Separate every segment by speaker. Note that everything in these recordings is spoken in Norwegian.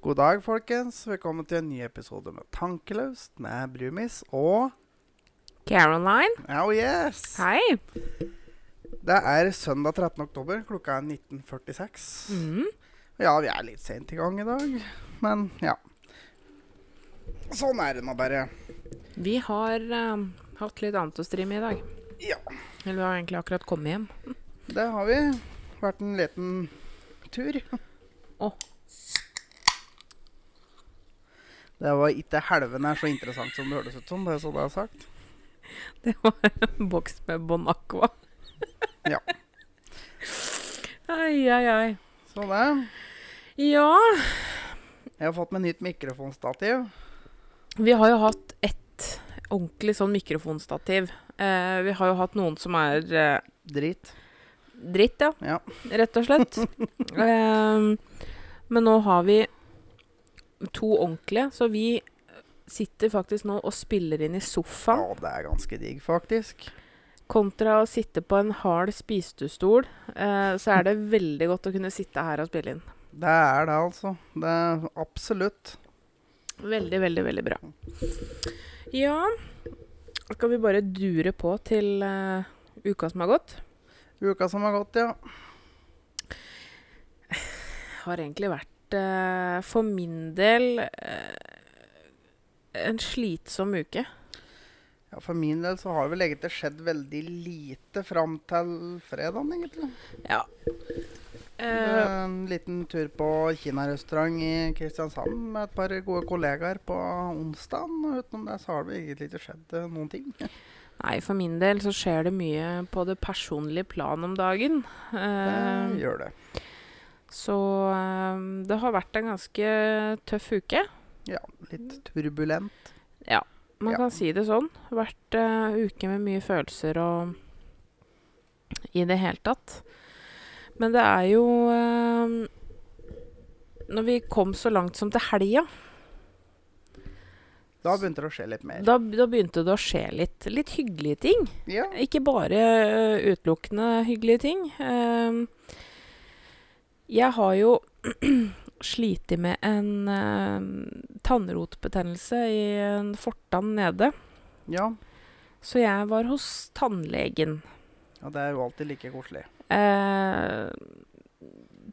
Speaker 1: God dag, folkens. Velkommen til en ny episode med Tankelaust med Brumis og
Speaker 2: Caroline.
Speaker 1: Oh yes!
Speaker 2: Hei.
Speaker 1: Det er søndag 13. oktober. Klokka er 19.46.
Speaker 2: Mm.
Speaker 1: Ja, vi er litt sent i gang i dag, men ja. Sånn er det nå bare.
Speaker 2: Vi har ehm, hatt litt annet å streame i dag.
Speaker 1: Ja,
Speaker 2: Eller vi har egentlig akkurat kommet hjem.
Speaker 1: det har vi. Vært en liten tur.
Speaker 2: Å.
Speaker 1: Det var ikke helvene er så interessant som det hørtes ut som, det som det er sagt.
Speaker 2: Det var en boks med Bon Aqua.
Speaker 1: Ja.
Speaker 2: Ai, ai, ai.
Speaker 1: Sånn det.
Speaker 2: Ja,
Speaker 1: Jeg har fått meg nytt mikrofonstativ.
Speaker 2: vi har jo hatt ett ordentlig sånn mikrofonstativ. Eh, vi har jo hatt noen som er eh,
Speaker 1: Drit.
Speaker 2: dritt, ja.
Speaker 1: Ja.
Speaker 2: Rett og slett. Ehm, men nå har vi to ordentlige, så vi sitter faktisk nå og spiller inn i sofaen.
Speaker 1: Ja, det er ganske digg, faktisk.
Speaker 2: Kontra å sitte på en hard spisestuestol, eh, så er det veldig godt å kunne sitte her og spille inn.
Speaker 1: Det er det, altså. Det er absolutt.
Speaker 2: Veldig, veldig, veldig bra. Ja, skal vi bare dure på til eh, uka som har gått?
Speaker 1: Uka som har gått, ja.
Speaker 2: Har egentlig vært, eh, for min del, eh, en slitsom uke.
Speaker 1: ja. For min del så har vel egentlig skjedd veldig lite fram til fredagen, egentlig.
Speaker 2: Ja.
Speaker 1: Det
Speaker 2: Eh,
Speaker 1: er En liten tur på kinarestaurant i Kristiansand med et par gode kollegaer på onsdagen. Og utenom det så har det egentlig ikke skjedd eh, noen ting.
Speaker 2: nei, for min del så skjer det mye på det personlige plan om dagen.
Speaker 1: Det
Speaker 2: Eh,
Speaker 1: gjør det.
Speaker 2: Så eh, det har vært en ganske tøff uke.
Speaker 1: Ja, litt turbulent.
Speaker 2: Man
Speaker 1: Ja.
Speaker 2: kan si det sånn. Vært eh, uke med mye følelser og i det hele tatt. Men det er jo eh, Når vi kom så langt som til helga,
Speaker 1: Da begynte det å skje litt mer.
Speaker 2: da, da begynte det å skje litt. Litt hyggelige ting.
Speaker 1: Ja,
Speaker 2: Ikke bare eh, utelukkende hyggelige ting. Ehm, jeg har jo slitt med en eh, tannrotbetennelse i en fortann nede,
Speaker 1: ja.
Speaker 2: så jeg var hos tannlegen.
Speaker 1: ja, det er jo alltid like koselig.
Speaker 2: Eh,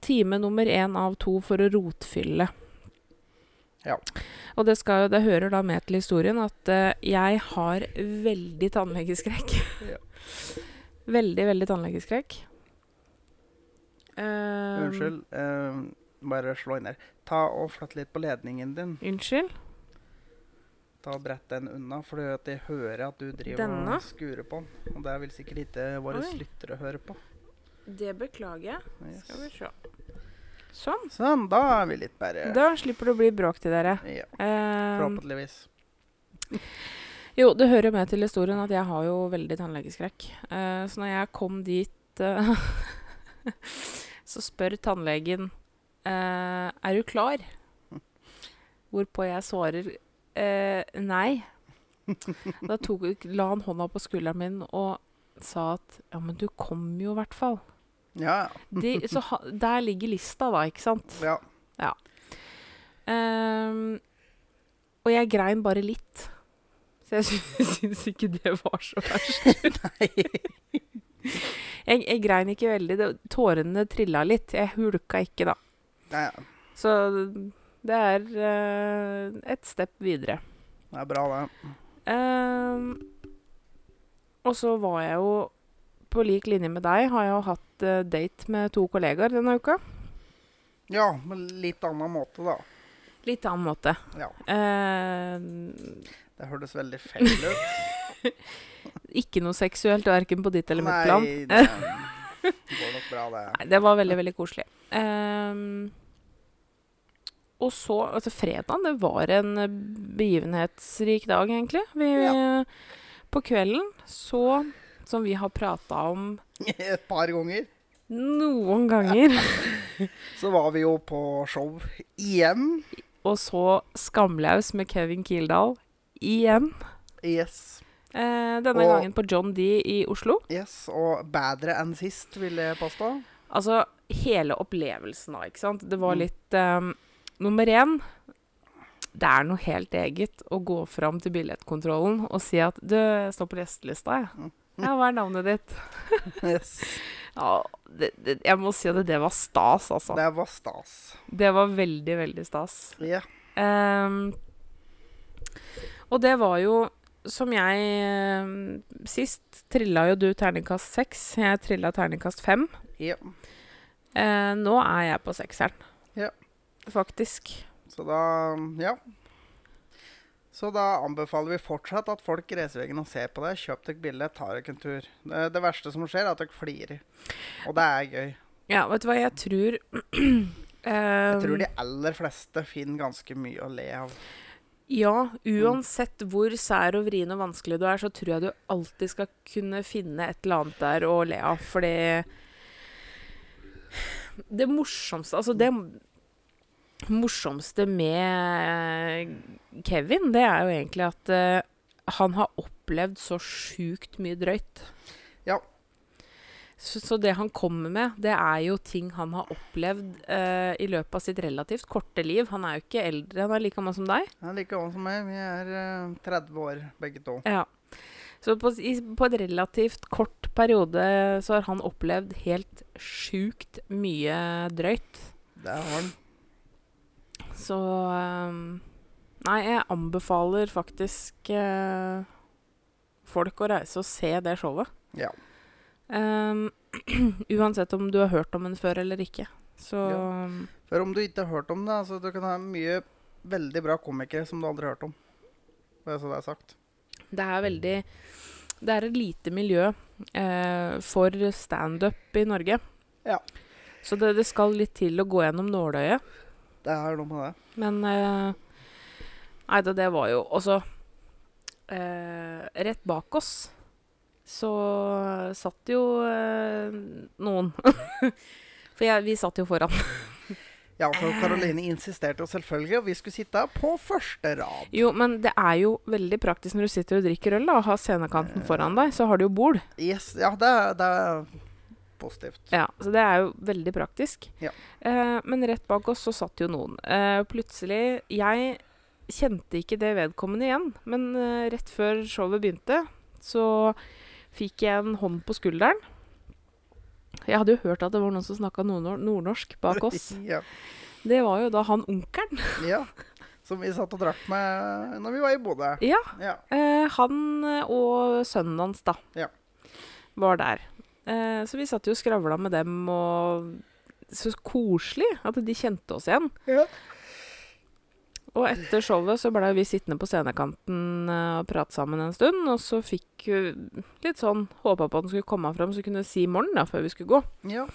Speaker 2: time nummer én av to for å rotfylle.
Speaker 1: Ja.
Speaker 2: Og det, skal, jo- det hører da med til historien at eh, jeg har veldig tannlegeskrekk.
Speaker 1: Ja.
Speaker 2: Veldig, veldig tannlegeskrekk. Eh,
Speaker 1: Unnskyld. eh, bare slå inn her. Ta og flytt litt på ledningen din.
Speaker 2: Unnskyld.
Speaker 1: Ta og Brett den unna, for jeg hører at du driver
Speaker 2: Denne?
Speaker 1: og skurer på den. Og det vil sikkert ikke våre
Speaker 2: Oi.
Speaker 1: lyttere høre på.
Speaker 2: Det beklager jeg.
Speaker 1: Yes.
Speaker 2: Skal vi se. Sånn.
Speaker 1: Sånn, da er vi litt bedre.
Speaker 2: Da slipper det å bli bråk til dere.
Speaker 1: Ja,
Speaker 2: Eh,
Speaker 1: forhåpentligvis.
Speaker 2: Jo, det hører med til historien at jeg har jo veldig tannlegeskrekk. Eh, så når jeg kom dit, eh, så spør tannlegen eh, Er du klar? Hvorpå jeg svarer eh, nei. Da tok, la han hånda på skulderen min og sa at ja, men du kom jo i hvert fall.
Speaker 1: Ja,
Speaker 2: De, så ha, der ligger lista, da, ikke sant?
Speaker 1: ja.
Speaker 2: Ehm, og jeg grein bare litt. Så jeg sy- syns ikke det var så verst. jeg, jeg grein ikke veldig. Det, tårene trilla litt. Jeg hulka ikke, da.
Speaker 1: Nei, ja.
Speaker 2: Så det er eh, et stepp videre.
Speaker 1: Det er bra, det.
Speaker 2: Ehm, og så var jeg jo på lik linje med deg, har jeg jo hatt eh, date med to kollegaer denne uka.
Speaker 1: Ja, på litt annen måte, da.
Speaker 2: Litt annen måte.
Speaker 1: Ja.
Speaker 2: Ehm,
Speaker 1: Det hørtes veldig feil ut.
Speaker 2: Ikke noe seksuelt, verken på ditt eller mitt plan.
Speaker 1: Nei, det går nok bra, det.
Speaker 2: Nei, det var veldig, veldig koselig. Ehm, og så, altså fredagen, det var en eh, begivenhetsrik dag, egentlig. Vi, På kvelden så, som vi har prata om
Speaker 1: Et par ganger
Speaker 2: noen ganger,
Speaker 1: så var vi jo på show igjen.
Speaker 2: og så Skamlaus med Kevin Kildahl igjen.
Speaker 1: Yes.
Speaker 2: Eh, denne
Speaker 1: Og-
Speaker 2: gangen på John D i Oslo.
Speaker 1: Yes, og bedre enn sist, vil jeg påstå.
Speaker 2: Altså hele opplevelsen da, ikke sant? Det var
Speaker 1: Mm.
Speaker 2: litt ehm, Nummer én Det er noe helt eget å gå fram til billettkontrollen og si at du jeg står på gjestelista, jeg. Ja, hva er navnet ditt?
Speaker 1: Yes.
Speaker 2: Ja, det, det, jeg må si at det var stas, altså.
Speaker 1: Det var stas.
Speaker 2: Det var veldig, veldig stas.
Speaker 1: Ja.
Speaker 2: Ehm, og det var jo som jeg ehm, Sist trilla jo du terningkast seks. Jeg trilla terningkast fem.
Speaker 1: ja.
Speaker 2: Eh, nå er jeg på sekseren.
Speaker 1: Ja.
Speaker 2: Faktisk.
Speaker 1: Så da Ja. Så da anbefaler vi fortsatt at folk reiser veggen og ser på deg. Kjøp dere billett, ta dere en tur. Det, det verste som skjer, er at dere flirer. Og det er gøy.
Speaker 2: Ja, vet du hva, jeg tror
Speaker 1: Jeg tror de aller fleste finner ganske mye å le av.
Speaker 2: Ja, uansett hvor sær og vrien og vanskelig du er, så tror jeg du alltid skal kunne finne et eller annet der å le av, fordi Det morsomste Altså, det morsomste med Kevin, det er jo egentlig at eh, han har opplevd så sjukt mye drøyt.
Speaker 1: Ja.
Speaker 2: Så, så det han kommer med, det er jo ting han har opplevd eh, i løpet av sitt relativt korte liv. Han er jo ikke eldre, han er like gammel som deg.
Speaker 1: Jeg er like gammel som meg. Vi er eh, 30 år, begge to.
Speaker 2: Ja. Så på, s- i, på et relativt kort periode så har han opplevd helt sjukt mye drøyt.
Speaker 1: Det har han.
Speaker 2: Så ehm, Nei, jeg anbefaler faktisk eh, folk å reise og se det showet.
Speaker 1: Ja.
Speaker 2: Ehm, uansett om du har hørt om den før eller ikke. Så ehm,
Speaker 1: For om du ikke har hørt om det, altså, du kan ha mye veldig bra komikere som du aldri har hørt om. Bare så det er sagt.
Speaker 2: Det er veldig Det er et lite miljø eh, for standup i Norge.
Speaker 1: Ja.
Speaker 2: Så det, det skal litt til å gå gjennom nåløyet.
Speaker 1: Det er noe med det.
Speaker 2: Men eh, Nei da, det var jo også eh, Rett bak oss så satt jo eh, noen. For jeg, vi satt jo foran.
Speaker 1: Ja, for Karoline insisterte jo selvfølgelig, og vi skulle sitte på første rad.
Speaker 2: Jo, men det er jo veldig praktisk når du sitter og drikker øl da, og har scenekanten foran deg, så har du jo bol.
Speaker 1: Yes, ja, det, er- det er positivt.
Speaker 2: Ja, så det er jo veldig praktisk.
Speaker 1: Ja.
Speaker 2: Eh, men rett bak oss så satt jo noen. Eh, plutselig Jeg kjente ikke det vedkommende igjen, men eh, rett før showet begynte, så fikk jeg en hånd på skulderen. Jeg hadde jo hørt at det var noen som snakka nordnorsk bak oss.
Speaker 1: ja.
Speaker 2: Det var jo da han onkelen.
Speaker 1: ja. Som vi satt og drakk med når vi var i Bodø.
Speaker 2: Ja.
Speaker 1: Ja.
Speaker 2: Eh, han og sønnen hans, da,
Speaker 1: Ja.
Speaker 2: var der. Eh, så vi satt jo og skravla med dem, og så koselig at de kjente oss igjen.
Speaker 1: Ja.
Speaker 2: Og etter showet så blei vi sittende på scenekanten eh, og prate sammen en stund, og så fikk vi litt sånn Håpa på at den skulle komme fram, så kunne si morgen da, før vi skulle gå.
Speaker 1: ja.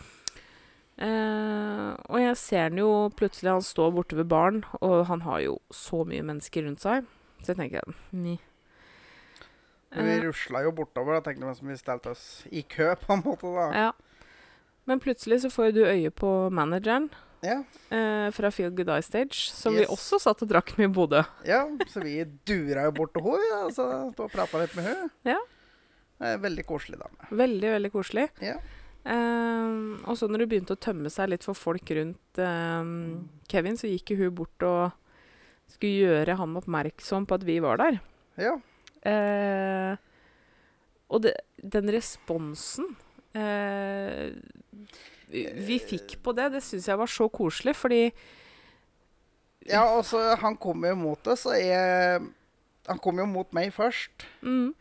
Speaker 2: Eh, og jeg ser den jo plutselig, han står borte ved baren, og han har jo så mye mennesker rundt seg. Så jeg tenker "Ni."
Speaker 1: Vi
Speaker 2: Eh,
Speaker 1: rusla jo bortover. Da tenkte vi som vi stelte oss i kø, på en måte. da.
Speaker 2: ja. Men plutselig så får jo du øye på manageren
Speaker 1: Ja.
Speaker 2: eh, fra Feel Good Eye Stage, som vi
Speaker 1: Yes.
Speaker 2: også satt og drakk med i Bodø.
Speaker 1: ja. Så vi dura jo bort til henne, vi, da, så stod og prata litt med henne.
Speaker 2: Ja.
Speaker 1: Veldig koselig dame.
Speaker 2: Veldig, veldig koselig.
Speaker 1: Ja.
Speaker 2: Eh, og så når det begynte å tømme seg litt for folk rundt eh, Kevin, så gikk jo hun bort og skulle gjøre ham oppmerksom på at vi var der.
Speaker 1: Ja.
Speaker 2: Eh, og det, den responsen eh, vi, vi fikk på det, det syns jeg var så koselig, fordi
Speaker 1: ja, og så han kom jo mot oss, og jeg Han kom jo mot meg først.
Speaker 2: mm,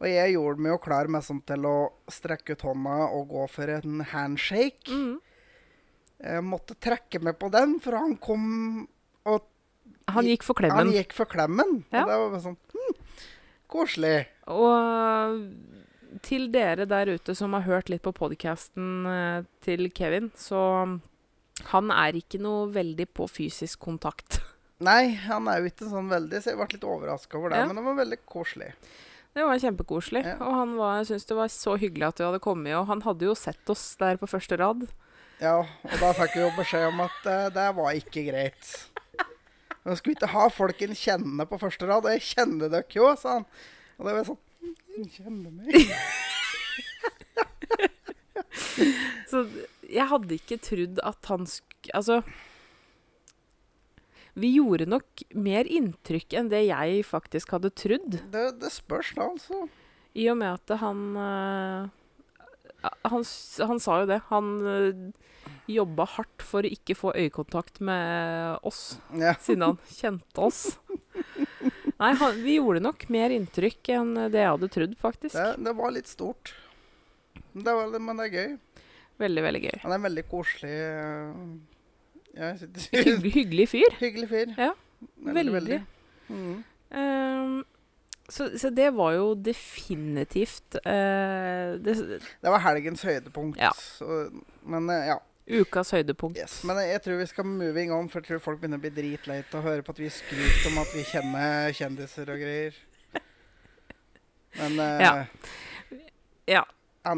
Speaker 1: Og jeg gjorde meg jo klar med sånn til å strekke ut hånda og gå for en handshake.
Speaker 2: mm,
Speaker 1: Jeg måtte trekke meg på den, for han kom og
Speaker 2: Han gikk for
Speaker 1: han
Speaker 2: klemmen.
Speaker 1: gikk for klemmen.
Speaker 2: Ja.
Speaker 1: Og det var bare sånn hm, Koselig.
Speaker 2: Og til dere der ute som har hørt litt på podkasten eh, til Kevin, så han er ikke noe veldig på fysisk kontakt.
Speaker 1: Nei, han er jo ikke sånn veldig, så jeg ble litt overraska over det.
Speaker 2: Ja.
Speaker 1: Men det var veldig koselig.
Speaker 2: Det var kjempekoselig.
Speaker 1: Ja.
Speaker 2: Og han var, jeg syns det var så hyggelig at du hadde kommet. Og han hadde jo sett oss der på første rad.
Speaker 1: Ja, og da fikk vi jo beskjed om at eh, det var ikke greit. Man skulle ikke ha folk en kjenne på første rad. Og jeg kjenner dere jo, sa han. Og det var sånn «Hm, jeg Kjenner meg.
Speaker 2: Så jeg hadde ikke trodd at han sk... Altså Vi gjorde nok mer inntrykk enn det jeg faktisk hadde trodd.
Speaker 1: Det, det spørs da, altså.
Speaker 2: I og med at han eh, han, s- han sa jo det. Han eh, jobba hardt for å ikke få øyekontakt med oss,
Speaker 1: Ja.
Speaker 2: siden han kjente oss. Nei, han, vi gjorde nok mer inntrykk enn det jeg hadde trodd, faktisk.
Speaker 1: Det, det var litt stort. Det var, litt- men det er gøy.
Speaker 2: Veldig, veldig gøy.
Speaker 1: Han er en veldig koselig eh, ja, jeg synes-
Speaker 2: Hygg, hyggelig fyr.
Speaker 1: Hyggelig fyr.
Speaker 2: Ja, Veldig.
Speaker 1: Mm.
Speaker 2: Ehm, så, så det var jo definitivt eh, det,
Speaker 1: Det var helgens høydepunkt.
Speaker 2: Ja.
Speaker 1: Så, men eh, ja.
Speaker 2: ukas høydepunkt.
Speaker 1: Yes. Men jeg tror vi skal moving on, for jeg tror folk begynner å bli dritlei av å høre på at vi skryter om at vi kjenner kjendiser og greier. Men eh,
Speaker 2: Ja. Ja.
Speaker 1: ja,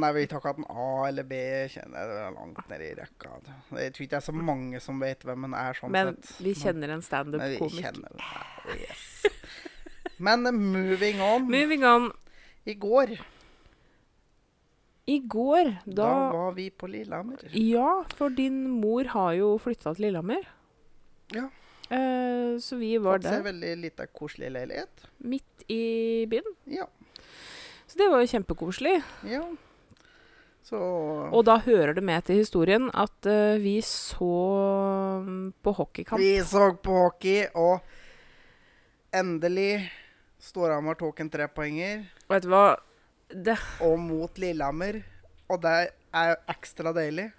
Speaker 1: Nei, vi tar ikke at en A eller B kjenner det er langt nede i rekka. Jeg tror ikke det er så mange som vet hvem en er, sånn
Speaker 2: Men
Speaker 1: sett.
Speaker 2: vi
Speaker 1: Men-
Speaker 2: kjenner en
Speaker 1: men vi
Speaker 2: standup-komiker.
Speaker 1: kjenner den. Ja, Yes. Men eh, moving on.
Speaker 2: Moving on.
Speaker 1: I går
Speaker 2: I går,
Speaker 1: da,
Speaker 2: da
Speaker 1: var vi på Lillehammer.
Speaker 2: Ja, for din mor har jo flytta til Lillehammer.
Speaker 1: Ja.
Speaker 2: Eh, så vi var
Speaker 1: Fått se
Speaker 2: der
Speaker 1: veldig lita, koselig leilighet.
Speaker 2: midt i byen.
Speaker 1: Ja.
Speaker 2: Så det var jo kjempekoselig.
Speaker 1: ja. Så
Speaker 2: Og da hører det med til historien at eh, vi så mm, på hockeykamp.
Speaker 1: Vi så på hockey, og endelig Storhamar tok en trepoenger,
Speaker 2: Vet du hva? Det
Speaker 1: og mot Lillehammer. Og det er jo ekstra deilig.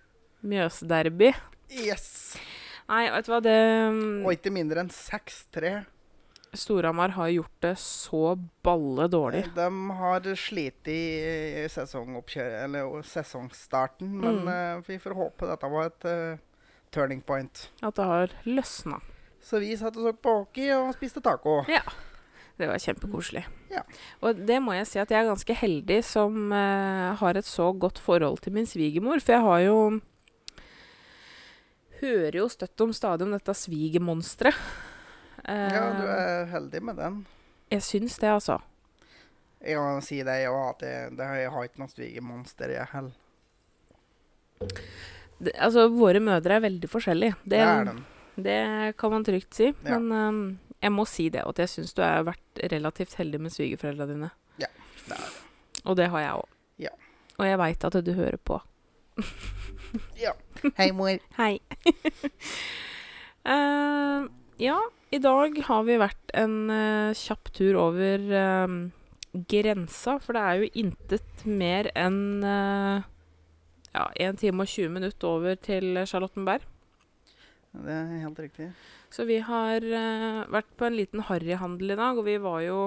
Speaker 2: Mjøsderby.
Speaker 1: Yes!
Speaker 2: Nei, vet du hva, det mm,
Speaker 1: Og ikke mindre enn 6-3.
Speaker 2: Storhamar har gjort det så balle dårlig.
Speaker 1: De har slitt i eh, sesongoppkjøret, eller eh, sesongstarten, men eh, vi får håpe dette var et eh, turning point.
Speaker 2: At det har løsna.
Speaker 1: Så vi satt og så på hockey og spiste taco.
Speaker 2: Det var kjempekoselig.
Speaker 1: Mm. Ja.
Speaker 2: Og det må jeg si at jeg er ganske heldig som eh, har et så godt forhold til min svigermor, for jeg har jo Hører jo støtt om stadig om dette svigermonsteret. Eh,
Speaker 1: Ja, du er heldig med den.
Speaker 2: Jeg syns det, altså.
Speaker 1: Jeg må si det, jeg, har- at jeg, det, jeg har ikke noe svigermonster, jeg heller.
Speaker 2: Det, altså, våre mødre er veldig forskjellige.
Speaker 1: Det er den.
Speaker 2: Det kan man trygt si.
Speaker 1: Ja.
Speaker 2: Men ehm, jeg må si det, at jeg syns du har vært relativt heldig med svigerforeldra dine.
Speaker 1: Ja, det er
Speaker 2: Og det har jeg òg.
Speaker 1: Ja.
Speaker 2: Og jeg veit at du hører på.
Speaker 1: Hei, mor.
Speaker 2: Hei. Ehm, ja, i dag har vi vært en eh, kjapp tur over ehm, grensa, for det er jo intet mer enn eh, ja, 1 time og 20 minutter over til Charlottenberg.
Speaker 1: Det er helt riktig.
Speaker 2: Så vi har eh, vært på en liten harryhandel i dag, og vi var jo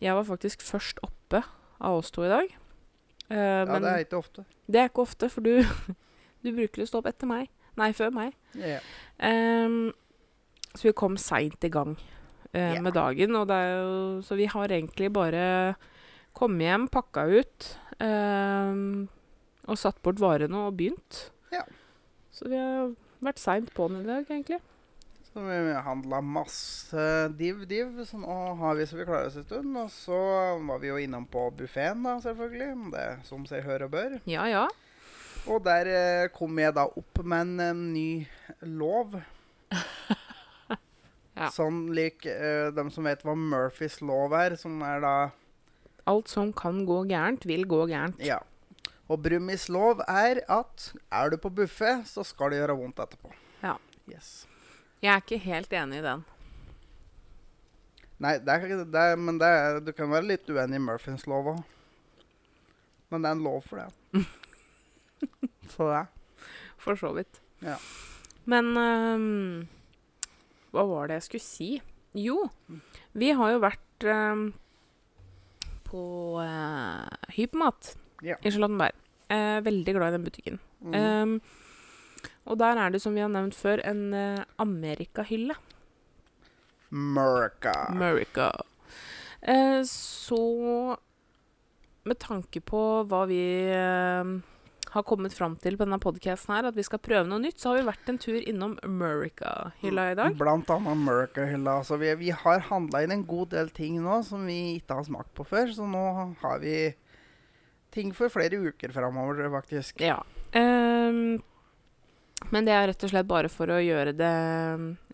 Speaker 2: Jeg var faktisk først oppe av oss to i dag. Eh,
Speaker 1: Ja,
Speaker 2: men
Speaker 1: det er ikke ofte.
Speaker 2: ikke ofte, for du, du bruker å stå opp etter meg. Nei, før meg.
Speaker 1: Ja.
Speaker 2: Ehm, så vi kom seint i gang eh,
Speaker 1: Ja.
Speaker 2: med dagen, og det er jo Så vi har egentlig bare kommet hjem, pakka ut ehm, og satt bort varene og begynt.
Speaker 1: Ja.
Speaker 2: Så vi har vært seint på'n i dag, egentlig.
Speaker 1: Så vi handla masse div-div, så nå har vi så vi klarer oss en stund. Og så var vi jo innom på buffeen, da, selvfølgelig. Det er som seg hør og bør.
Speaker 2: Ja, ja.
Speaker 1: Og der eh, kom jeg da opp med en, eh, ny lov.
Speaker 2: Ja.
Speaker 1: Sånn lik eh, dem som vet hva Murphys lov er, som er da
Speaker 2: Alt som kan gå gærent, vil gå gærent.
Speaker 1: Ja. Og Brummis lov er at er du på buffé, så skal det gjøre vondt etterpå.
Speaker 2: Ja.
Speaker 1: Yes.
Speaker 2: Jeg er ikke helt enig i den.
Speaker 1: Nei, det er, det er, men det er, du kan være litt uenig i Murphys lov òg. Men det er en lov for det. så det.
Speaker 2: For så vidt.
Speaker 1: Ja.
Speaker 2: Men ehm, hva var det jeg skulle si? Jo,
Speaker 1: Mm.
Speaker 2: vi har jo vært ehm, på eh, Hypermat
Speaker 1: Ja.
Speaker 2: i Charlottenberg. Eh, veldig glad i den butikken.
Speaker 1: Mm.
Speaker 2: Ehm, og der er det, som vi har nevnt før, en eh, amerikahylle.
Speaker 1: Murka.
Speaker 2: America. Eh, så med tanke på hva vi eh, har kommet fram til på denne podkasten her, at vi skal prøve noe nytt, så har vi vært en tur innom America-hylla i dag.
Speaker 1: Blant annet Murka-hylla. Altså, vi, vi har handla inn en god del ting nå som vi ikke har smakt på før, så nå har vi ting for flere uker framover, faktisk.
Speaker 2: Ja. Eh, Men det er rett og slett bare for å gjøre det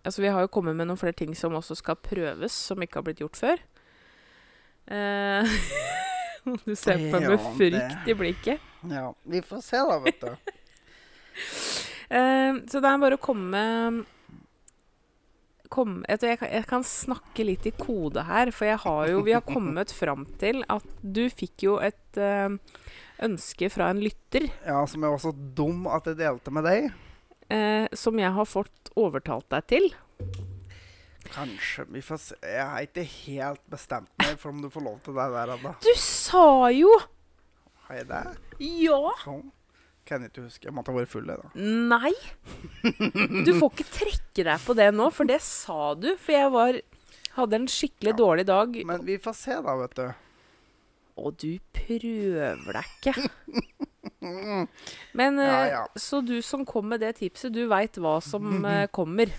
Speaker 2: Altså, vi har jo kommet med noen flere ting som også skal prøves, som ikke har blitt gjort før. Eh, du ser på meg
Speaker 1: Ja,
Speaker 2: med
Speaker 1: det-
Speaker 2: frykt i blikket.
Speaker 1: Ja, vi får se da, vet du.
Speaker 2: Eh, så det er bare å komme komme- jeg, tror jeg, kan, jeg kan snakke litt i kode her, for jeg har jo, vi har kommet fram til at du fikk jo et eh, ønske fra en lytter
Speaker 1: Ja, som jeg var så dum at jeg delte med deg.
Speaker 2: eh, som jeg har fått overtalt deg til.
Speaker 1: Kanskje vi får se. Jeg har ikke helt bestemt meg for om du får lov til det der ennå.
Speaker 2: Du sa jo
Speaker 1: Har jeg det?
Speaker 2: ja!
Speaker 1: Sånn. Kan jeg ikke huske. Jeg måtte ha vært full, jeg, da.
Speaker 2: Nei! Du får ikke trekke deg på det nå, for det sa du. For jeg var, hadde en skikkelig
Speaker 1: Ja,
Speaker 2: dårlig dag,
Speaker 1: Men vi får se, da, vet du.
Speaker 2: og du prøver deg ikke. Men
Speaker 1: Ja,
Speaker 2: eh,
Speaker 1: ja.
Speaker 2: så du som kom med det tipset, du veit hva som eh, kommer.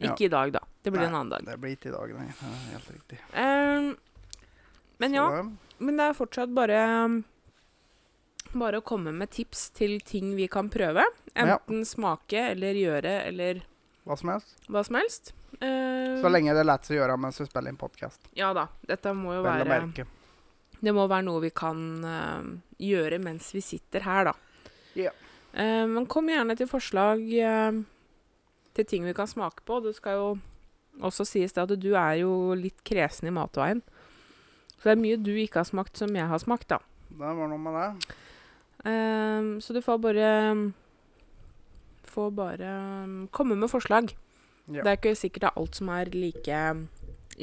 Speaker 1: Ja.
Speaker 2: Ikke i dag, da. Det blir
Speaker 1: Nei,
Speaker 2: en annen dag.
Speaker 1: Det blir ikke i dag, nei. Det er Helt riktig.
Speaker 2: Eh, men ja,
Speaker 1: Så,
Speaker 2: men det er fortsatt bare bare å komme med tips til ting vi kan prøve.
Speaker 1: Ja.
Speaker 2: Enten smake eller gjøre eller
Speaker 1: hva som helst.
Speaker 2: hva som helst. Eh,
Speaker 1: Så lenge det er lett å gjøre mens vi spiller inn podkast.
Speaker 2: Ja da. Dette må jo
Speaker 1: Vel å
Speaker 2: være
Speaker 1: merke.
Speaker 2: Det må være noe vi kan eh, gjøre mens vi sitter her, da.
Speaker 1: Ja.
Speaker 2: Eh, men kom gjerne til forslag eh, til ting vi kan smake på. Det skal jo også sies det at du er jo litt kresen i matveien. Så det er mye du ikke har smakt som jeg har smakt, da.
Speaker 1: Det var noe med det.
Speaker 2: Eh, så du får bare Får bare eh, komme med forslag.
Speaker 1: Ja.
Speaker 2: Det er ikke sikkert det er alt som er like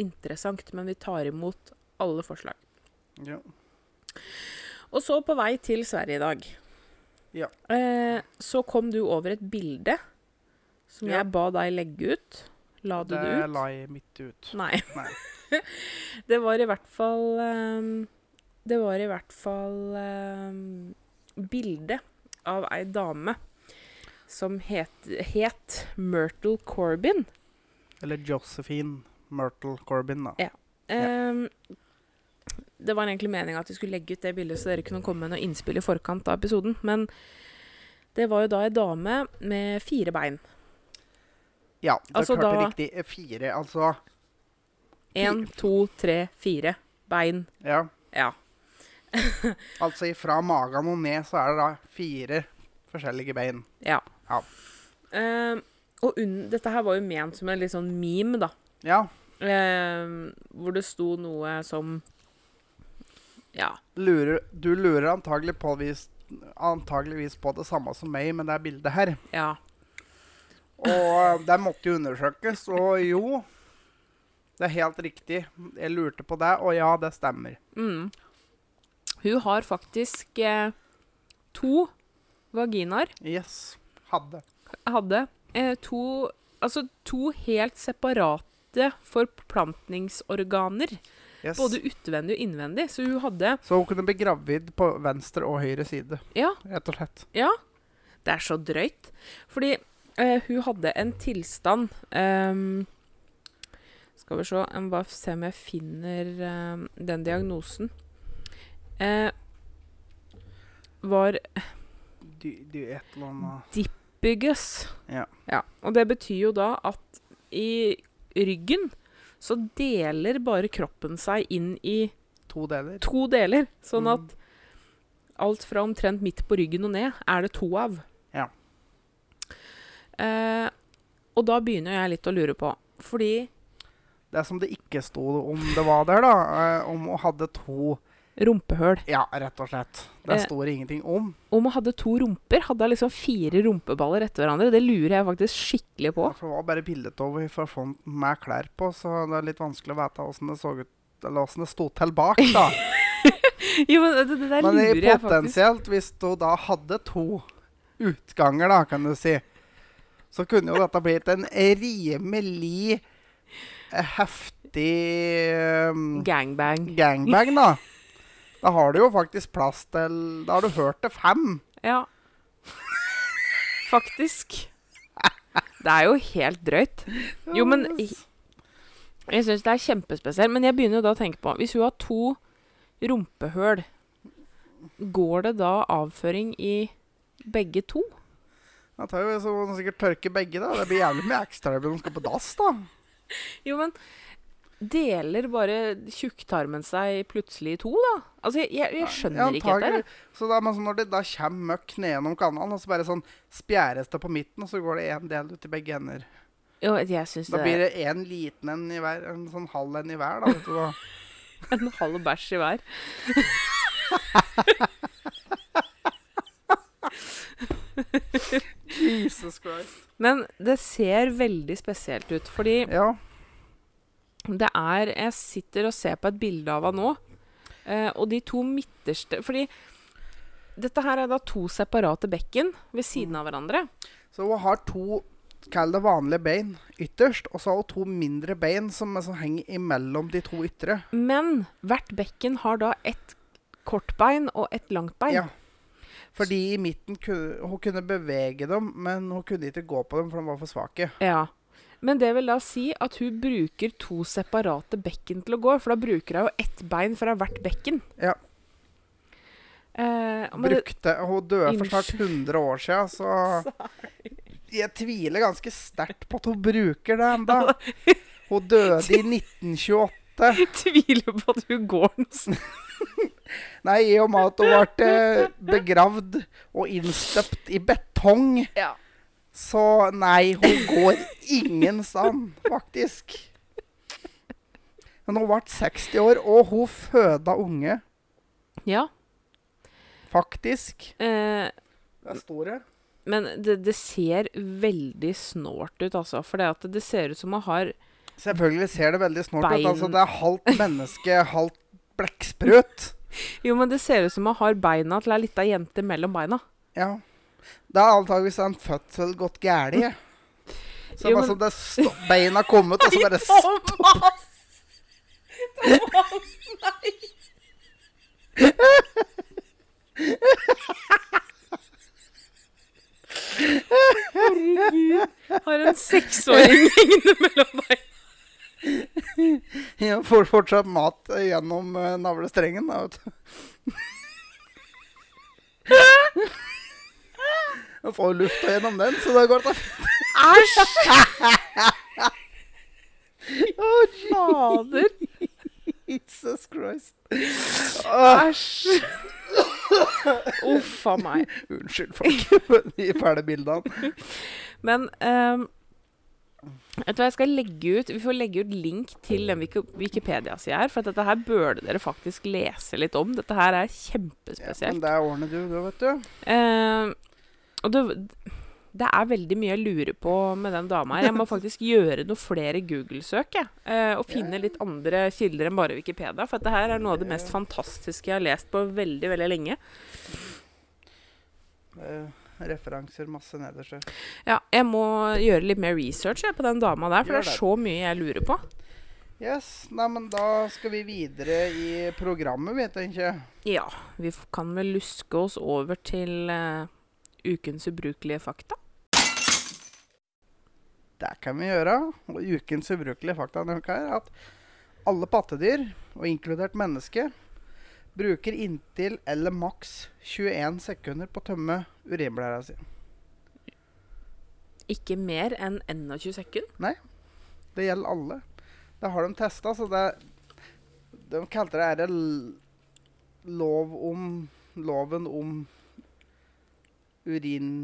Speaker 2: interessant, men vi tar imot alle forslag.
Speaker 1: Ja.
Speaker 2: Og så på vei til Sverige i dag.
Speaker 1: Ja.
Speaker 2: Eh, så kom du over et bilde som
Speaker 1: Ja.
Speaker 2: jeg ba deg legge ut. La du det,
Speaker 1: Det
Speaker 2: ut?
Speaker 1: la jeg midt ut.
Speaker 2: Nei.
Speaker 1: Nei.
Speaker 2: det var i hvert fall ehm, Det var i hvert fall ehm, bilde av ei dame som het, het Myrtle Corbin.
Speaker 1: Eller Josephine Myrtle Corbin, da.
Speaker 2: Ehm, det var egentlig meninga at vi skulle legge ut det bildet, så dere kunne komme med noe innspill i forkant av episoden. Men det var jo da ei dame med fire bein.
Speaker 1: Ja, dere
Speaker 2: Altså,
Speaker 1: hørte
Speaker 2: da-
Speaker 1: riktig. Eh, Fire, altså.
Speaker 2: Én, to, tre, fire bein.
Speaker 1: Ja.
Speaker 2: Ja.
Speaker 1: Altså ifra magen og ned så er det da fire forskjellige bein.
Speaker 2: ja.
Speaker 1: Ja.
Speaker 2: Ehm, og unn, dette her var jo ment som en litt sånn meme, da.
Speaker 1: Ja.
Speaker 2: Ehm, hvor det sto noe som Ja.
Speaker 1: Lurer, du lurer antagelig på, vis, antageligvis på det samme som meg med det bildet her.
Speaker 2: Ja.
Speaker 1: Og det måtte jo undersøkes, og jo Det er helt riktig. Jeg lurte på det, og ja, det stemmer.
Speaker 2: Mm. Hun har faktisk eh, to vaginaer.
Speaker 1: Yes. Hadde.
Speaker 2: hadde eh, to, altså to helt separate forplantningsorganer.
Speaker 1: Yes.
Speaker 2: Både utvendig og innvendig. Så hun hadde
Speaker 1: Så hun kunne bli gravid på venstre og høyre side,
Speaker 2: Ja,
Speaker 1: rett og slett.
Speaker 2: ja. Det er så drøyt. Fordi eh, hun hadde en tilstand ehm, Skal vi se Jeg må bare se om jeg finner ehm, den diagnosen. Eh, var
Speaker 1: Du, du et eller annet
Speaker 2: bygges.
Speaker 1: Ja.
Speaker 2: Og det betyr jo da at i ryggen så deler bare kroppen seg inn i
Speaker 1: To deler.
Speaker 2: to deler. Sånn
Speaker 1: Mm.
Speaker 2: at alt fra omtrent midt på ryggen og ned er det to av.
Speaker 1: Ja.
Speaker 2: Eh, og da begynner jeg litt å lure på. Fordi
Speaker 1: Det som det ikke sto om det var der, da, eh, om hun hadde to
Speaker 2: rumpehøl
Speaker 1: Ja, rett og slett. Det
Speaker 2: Eh.
Speaker 1: står ingenting om.
Speaker 2: Om hun hadde to rumper, hadde hun liksom fire rumpeballer etter hverandre. Det lurer jeg faktisk skikkelig på.
Speaker 1: For det var bare bildet over fra fronten med klær på, så det er litt vanskelig å vite åssen det så ut Eller åssen det sto til bak, da.
Speaker 2: Jo, men det, det der
Speaker 1: Men i
Speaker 2: lurer jeg faktisk.
Speaker 1: potensielt, hvis du da hadde to utganger, da, kan du si, så kunne jo dette blitt en rimelig eh, heftig eh,
Speaker 2: Gangbang.
Speaker 1: gangbang, da. Da har du jo faktisk plass til Da har du hørt til fem.
Speaker 2: Ja. Faktisk. Det er jo helt drøyt. Jo, men jeg, jeg syns det er kjempespesielt. Men jeg begynner jo da å tenke på Hvis hun har to rumpehøl, går det da avføring i begge to?
Speaker 1: Ja, Jeg tar jo så må han sikkert tørke begge, da. Det blir jævlig mye ekstra når de skal på dass, da.
Speaker 2: Jo, men deler bare tjukktarmen seg plutselig i to, da? Altså, jeg, jeg, jeg skjønner ikke
Speaker 1: antagelig.
Speaker 2: dette. her.
Speaker 1: Så da, men så når det da kommer møkk ned gjennom kanalen, og så bare sånn spjæres det på midten, og så går det én del ut i begge ender.
Speaker 2: Jo, jeg syns
Speaker 1: Da
Speaker 2: det
Speaker 1: blir det én liten en i hver, en sånn halv en i hver, da. Vet du hva.
Speaker 2: en halv bæsj i hver.
Speaker 1: Jesus Christ.
Speaker 2: Men det ser veldig spesielt ut, fordi
Speaker 1: Ja.
Speaker 2: det er Jeg sitter og ser på et bilde av henne nå, eh, og de to midterste Fordi dette her er da to separate bekken ved siden av hverandre.
Speaker 1: Så hun har to Kall det vanlige bein ytterst, og så har hun to mindre bein som, som henger imellom de to ytre.
Speaker 2: Men hvert bekken har da ett kortbein og ett langt bein.
Speaker 1: Ja. Fordi i midten kunne, hun kunne bevege dem, men hun kunne ikke gå på dem, for de var for svake.
Speaker 2: Ja. Men det vil da si at hun bruker to separate bekken til å gå, for da bruker hun jo ett bein fra hvert bekken.
Speaker 1: Ja.
Speaker 2: Eh, men det,
Speaker 1: Brukte, hun døde for snart
Speaker 2: Unnskyld.
Speaker 1: 100 år siden, så Jeg tviler ganske sterkt på at hun bruker det enda. Hun døde i 1928.
Speaker 2: jeg tviler på at hun går noe sted.
Speaker 1: Nei, i og med at hun ble eh, begravd og innstøpt i betong.
Speaker 2: Ja.
Speaker 1: Så nei, hun går ingen stand, faktisk. Men hun ble 60 år, og hun føda unge,
Speaker 2: ja.
Speaker 1: faktisk.
Speaker 2: Eh,
Speaker 1: Det er store.
Speaker 2: men det, det ser veldig snålt ut, altså. For det, at det ser ut som hun har
Speaker 1: Selvfølgelig ser det veldig snålt ut.
Speaker 2: Bein.
Speaker 1: Altså, det er halvt menneske, halvt blekksprut.
Speaker 2: Jo, men det ser ut som hun har beina til ei lita jente mellom beina.
Speaker 1: Ja. Det er antakeligvis en fødsel gått galt i. Så
Speaker 2: Jo,
Speaker 1: bare
Speaker 2: men-
Speaker 1: sånn det sto- beina kom ut, og så bare s-
Speaker 2: Thomas! Thomas, nei! Herregud. Har en seksåring hengende mellom beina.
Speaker 1: ja, får fortsatt mat eh, gjennom eh, navlestrengen. Da, vet du. Jeg får lufta gjennom den, så det går da.
Speaker 2: Æsj! Fader.
Speaker 1: Jesus Christ. Åh,
Speaker 2: Æsj. Uff a meg.
Speaker 1: unnskyld, folk, for de fæle bildene.
Speaker 2: Men ehm, vet du hva, jeg skal legge ut, Vi får legge ut link til den Wiki- Wikipedia-sida her. For at dette her burde dere faktisk lese litt om. Dette her
Speaker 1: Ja,
Speaker 2: er
Speaker 1: men
Speaker 2: kjempespesielt.
Speaker 1: det ordner du, du, vet du.
Speaker 2: Ehm, og det, det er veldig mye jeg lurer på med den dama her. Jeg må faktisk gjøre noe flere Google-søk. jeg, eh, og finne litt andre kilder enn bare Wikipedia. For at det her er noe av det mest fantastiske jeg har lest på veldig, veldig lenge.
Speaker 1: Eh, Referanser masse nederst. her.
Speaker 2: Ja, jeg må gjøre litt mer research jeg, på den dama der, for
Speaker 1: Gjør
Speaker 2: det er så mye jeg lurer på.
Speaker 1: Yes, nei, men da skal vi videre i programmet, vet jeg ikke.
Speaker 2: Ja, vi f- kan vel luske oss over til eh, ukens ubrukelige fakta.
Speaker 1: Det kan vi gjøre. Og ukens ubrukelige fakta denne uka er at alle pattedyr, og inkludert menneske, bruker inntil eller maks 21 sekunder på å tømme urinblæra si.
Speaker 2: Ikke mer enn 21 sekunder.
Speaker 1: Det gjelder alle. Det har de testa, så det De kalte det her l- lov om Loven om urin...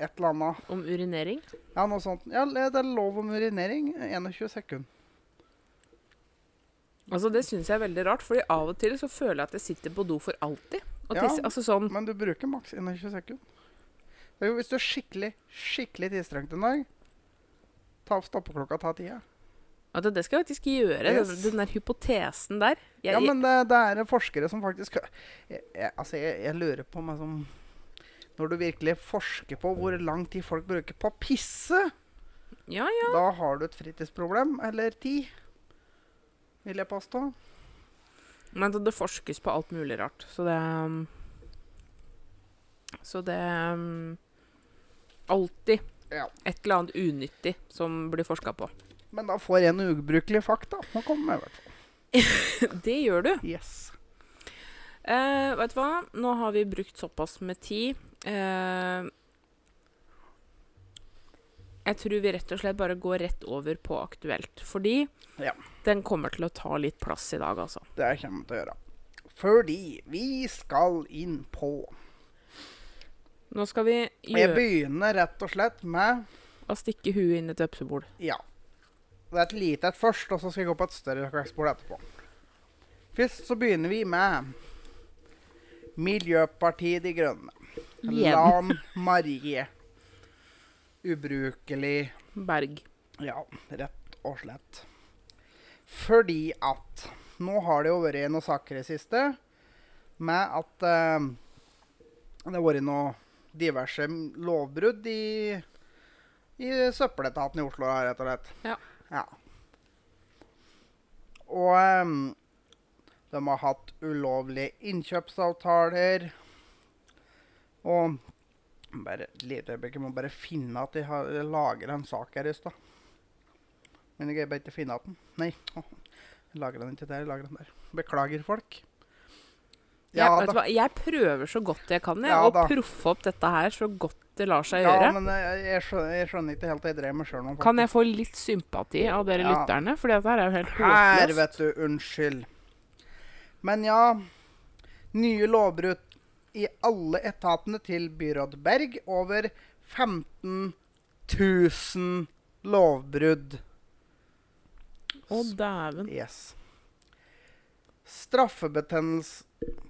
Speaker 1: Et eller annet.
Speaker 2: Om urinering.
Speaker 1: Ja, noe sånt. Ja, det er lov om urinering. 21 sekunder.
Speaker 2: Altså, det syns jeg er veldig rart, fordi av og til så føler jeg at jeg sitter på do for alltid. Og
Speaker 1: Ja.
Speaker 2: tisser. Altså sånn
Speaker 1: Men du bruker maks 21 sekunder. Det er jo hvis du er skikkelig, skikkelig tidstrengt en dag, ta stoppeklokka, ta tida.
Speaker 2: at Det skal jeg faktisk gjøre,
Speaker 1: Yes.
Speaker 2: den, den der hypotesen der. Jeg,
Speaker 1: Ja, men det, det er forskere som faktisk jeg, jeg, Altså, jeg, jeg lurer på meg som Når du virkelig forsker på hvor lang tid folk bruker på å pisse,
Speaker 2: ja, ja.
Speaker 1: da har du et fritidsproblem. Eller tid, vil jeg påstå.
Speaker 2: Men det- det forskes på alt mulig rart, så det um, Så det um, Alltid
Speaker 1: Ja.
Speaker 2: et eller annet unyttig som blir forska på.
Speaker 1: Men da får en ubrukelig fakta å komme med, i hvert fall.
Speaker 2: Det gjør du.
Speaker 1: Yes.
Speaker 2: Eh, vet du hva? Nå har vi brukt såpass med tid. Eh, Jeg tror vi rett og slett bare går rett over på aktuelt. Fordi
Speaker 1: Ja.
Speaker 2: den kommer til å ta litt plass i dag, altså.
Speaker 1: Det kommer vi til å gjøre. Fordi vi skal inn på
Speaker 2: Nå skal vi
Speaker 1: Og jeg
Speaker 2: gjøre,
Speaker 1: begynner rett og slett med
Speaker 2: å stikke huet inn i et vepsebol.
Speaker 1: Ja. Det er et lite et først, og så skal jeg gå på et større kveksbord etterpå. Først så begynner vi med Miljøpartiet De Grønne.
Speaker 2: Igjen.
Speaker 1: Lan Marie. Ubrukelig
Speaker 2: Berg.
Speaker 1: Ja, rett og slett. Fordi at Nå har det jo vært noen saker i det siste med at eh, det har vært noen diverse m- lovbrudd i, i søppeletaten i Oslo, her, rett og slett.
Speaker 2: Ja.
Speaker 1: ja. Og eh, de har hatt ulovlige innkjøpsavtaler. Og bare et lite øyeblikk, jeg må bare finne at jeg har lager en sak her i stad. Men jeg greier bare ikke å finne at den. Nei. åh, Jeg lager den ikke der, jeg lager den der. Beklager, folk.
Speaker 2: Jeg, vet du hva, jeg prøver så godt jeg kan jeg,
Speaker 1: Ja,
Speaker 2: å
Speaker 1: da.
Speaker 2: proffe opp dette her så godt det lar seg
Speaker 1: ja,
Speaker 2: gjøre.
Speaker 1: men jeg, jeg, skjønner, jeg skjønner ikke helt hva jeg drev med sjøl nå.
Speaker 2: Kan jeg få litt sympati av dere
Speaker 1: Ja.
Speaker 2: lytterne? For dette her er jo helt
Speaker 1: Her,
Speaker 2: håpløst.
Speaker 1: vet du. Unnskyld. Men ja. Nye lovbrudd i alle etatene til byråd Berg. Over 15 000 lovbrudd.
Speaker 2: Å, dæven.
Speaker 1: Yes. Straffebetennelse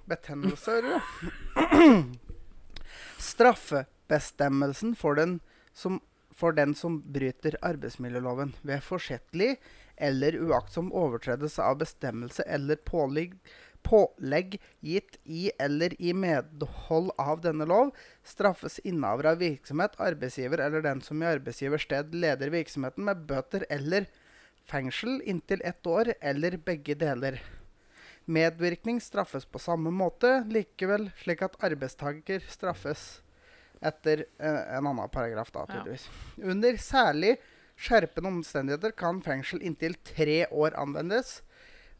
Speaker 1: Betennelse, hører du? Straffebestemmelsen for den, som, for den som bryter arbeidsmiljøloven ved forsettlig eller uaktsom overtredelse av bestemmelse eller pålegg, pålegg gitt i eller i medhold av denne lov, straffes innehaver av virksomhet, arbeidsgiver eller den som i arbeidsgivers sted leder virksomheten med bøter eller fengsel inntil ett år eller begge deler. Medvirkning straffes på samme måte, likevel slik at arbeidstaker straffes etter eh, en annen paragraf, da,
Speaker 2: Ja.
Speaker 1: tydeligvis. Under særlig skjerpende omstendigheter kan fengsel inntil tre år anvendes.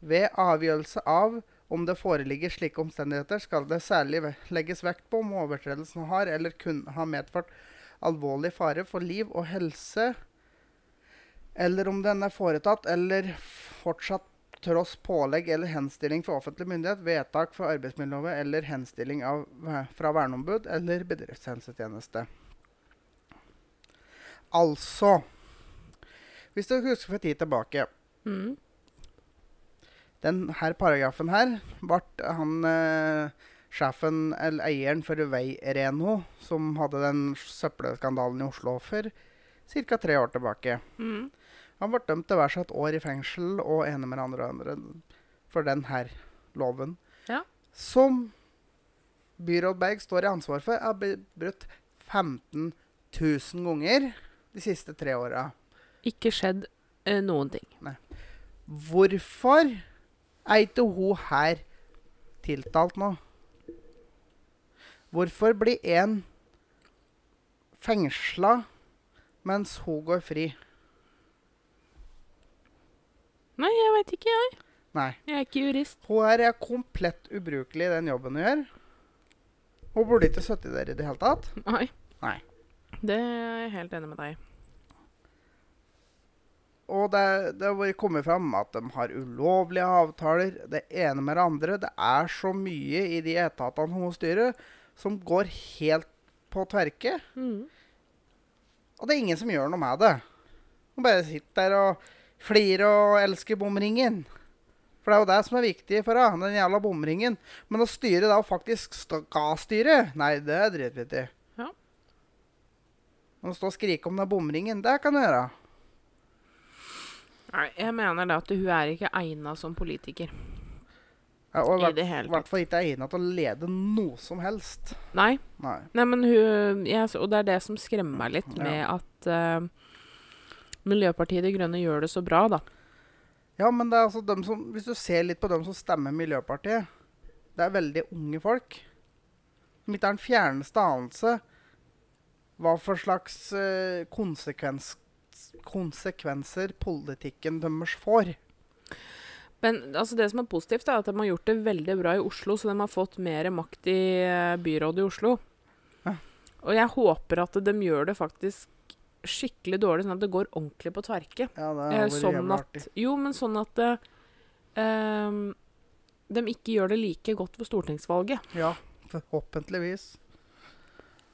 Speaker 1: Ved avgjørelse av om det foreligger slike omstendigheter, skal det særlig ve- legges vekt på om overtredelsen har eller kunne ha medført alvorlig fare for liv og helse, eller om den er foretatt eller fortsatt tross pålegg eller henstilling fra offentlig myndighet, vedtak fra arbeidsmiljøloven eller henstilling av, fra verneombud eller bedriftshelsetjeneste. Altså Hvis du husker for tid tilbake
Speaker 2: Mm.
Speaker 1: den her paragrafen her ble han eh, sjefen eller eieren for Veireno, som hadde den søppelskandalen i Oslo for ca. tre år tilbake.
Speaker 2: Mm.
Speaker 1: Han ble dømt til hver sitt år i fengsel og ene med det andre og andre for den her loven.
Speaker 2: Ja.
Speaker 1: Som byråd Berg står i ansvar for, er blitt brutt 15 000 ganger de siste tre åra.
Speaker 2: Ikke skjedd eh, noen ting.
Speaker 1: Hvorfor er ikke hun her tiltalt nå? Hvorfor blir en fengsla mens hun går fri?
Speaker 2: Nei, jeg veit ikke, jeg.
Speaker 1: Nei.
Speaker 2: Jeg er ikke jurist.
Speaker 1: Hun her er komplett ubrukelig i den jobben hun gjør. Hun burde ikke sittet der i det hele tatt.
Speaker 2: Nei.
Speaker 1: Nei.
Speaker 2: Det er jeg helt enig med deg i.
Speaker 1: Og det, det har vært kommet fram at de har ulovlige avtaler, det ene med det andre. Det er så mye i de etatene hun styrer, som går helt på tverke. Og det er ingen som gjør noe med det. Man bare sitter der og flirer og elsker bomringen. For det er jo det som er viktig for deg, den jævla bomringen. Men å styre da og faktisk stå- skal styre, nei, det er dritviktig.
Speaker 2: Ja.
Speaker 1: Men å stå og skrike om den bomringen, det kan du gjøre.
Speaker 2: Nei, jeg mener da at hun er ikke egna som politiker.
Speaker 1: Ja, og
Speaker 2: I det hele
Speaker 1: I hvert fall ikke egnet til å lede noe som helst.
Speaker 2: Nei.
Speaker 1: Nei.
Speaker 2: Nei, men hun jeg, Og det er det som skremmer meg litt
Speaker 1: Ja.
Speaker 2: med at eh, Miljøpartiet De Grønne gjør det så bra, da.
Speaker 1: Ja, men det er altså dem som, hvis du ser litt på dem som stemmer Miljøpartiet, det er veldig unge folk. Som ikke har den fjerneste anelse hva for slags eh, konsekvens, konsekvenser politikken deres får.
Speaker 2: Men altså, det som er positivt, er at de har gjort det veldig bra i Oslo, så de har fått mer makt i eh, byrådet i Oslo.
Speaker 1: Ja.
Speaker 2: Og jeg håper at de gjør det faktisk skikkelig dårlig, sånn at det går ordentlig på tverke.
Speaker 1: Ja, det
Speaker 2: Eh,
Speaker 1: har vært
Speaker 2: sånn
Speaker 1: jævlig
Speaker 2: at,
Speaker 1: artig.
Speaker 2: jo, men sånn at eh, ehm, de ikke gjør det like godt ved stortingsvalget.
Speaker 1: Ja, forhåpentligvis.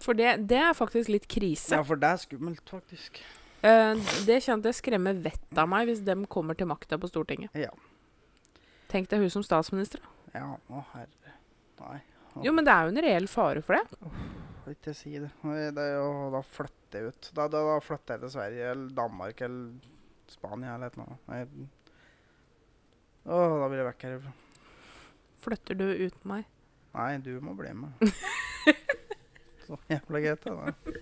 Speaker 2: For det, det er faktisk litt krise.
Speaker 1: Ja, for det er skummelt, faktisk.
Speaker 2: Eh, det kjente jeg skremmer vettet av meg hvis de kommer til makta på Stortinget.
Speaker 1: Ja.
Speaker 2: Tenk deg hun som statsminister. da.
Speaker 1: Ja, å herre. Nei,
Speaker 2: Jo, men det er jo en reell fare for det.
Speaker 1: jeg vil ikke si det. Nei, det er jo, da flytter jeg ut. Da, da, da flytter jeg til Sverige eller Danmark eller Spania eller et eller annet. Nei. Å, da blir jeg vekk herifra.
Speaker 2: Flytter du uten meg?
Speaker 1: Nei, du må bli med. Så jævla greit, det. da.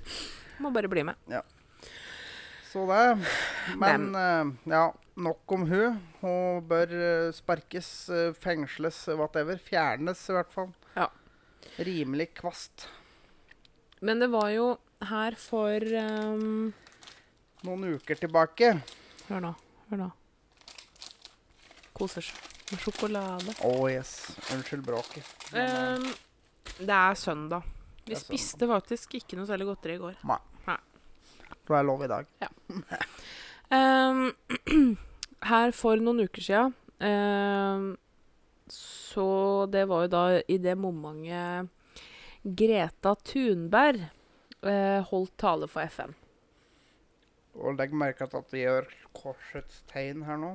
Speaker 2: Må bare bli med.
Speaker 1: Så det. Men eh, ja, nok om hun. Hun bør eh, sparkes, eh, fengsles, eh, whatever. Fjernes i hvert fall.
Speaker 2: Ja.
Speaker 1: Rimelig kvast.
Speaker 2: Men det var jo her for ehm,
Speaker 1: Noen uker tilbake.
Speaker 2: Hør nå. Hør nå. Koser seg med sjokolade.
Speaker 1: Å yes. Unnskyld bråket. Men, eh,
Speaker 2: Ehm, det er søndag. Vi
Speaker 1: Det er søndag.
Speaker 2: spiste faktisk ikke noe særlig godteri i går.
Speaker 1: Det eh, er lov i dag.
Speaker 2: Ehm, her for noen uker siden ehm, Så det var jo da i det momentet Greta Thunberg eh, holdt tale for FN.
Speaker 1: Og legg merke til at vi gjør korsets tegn her nå.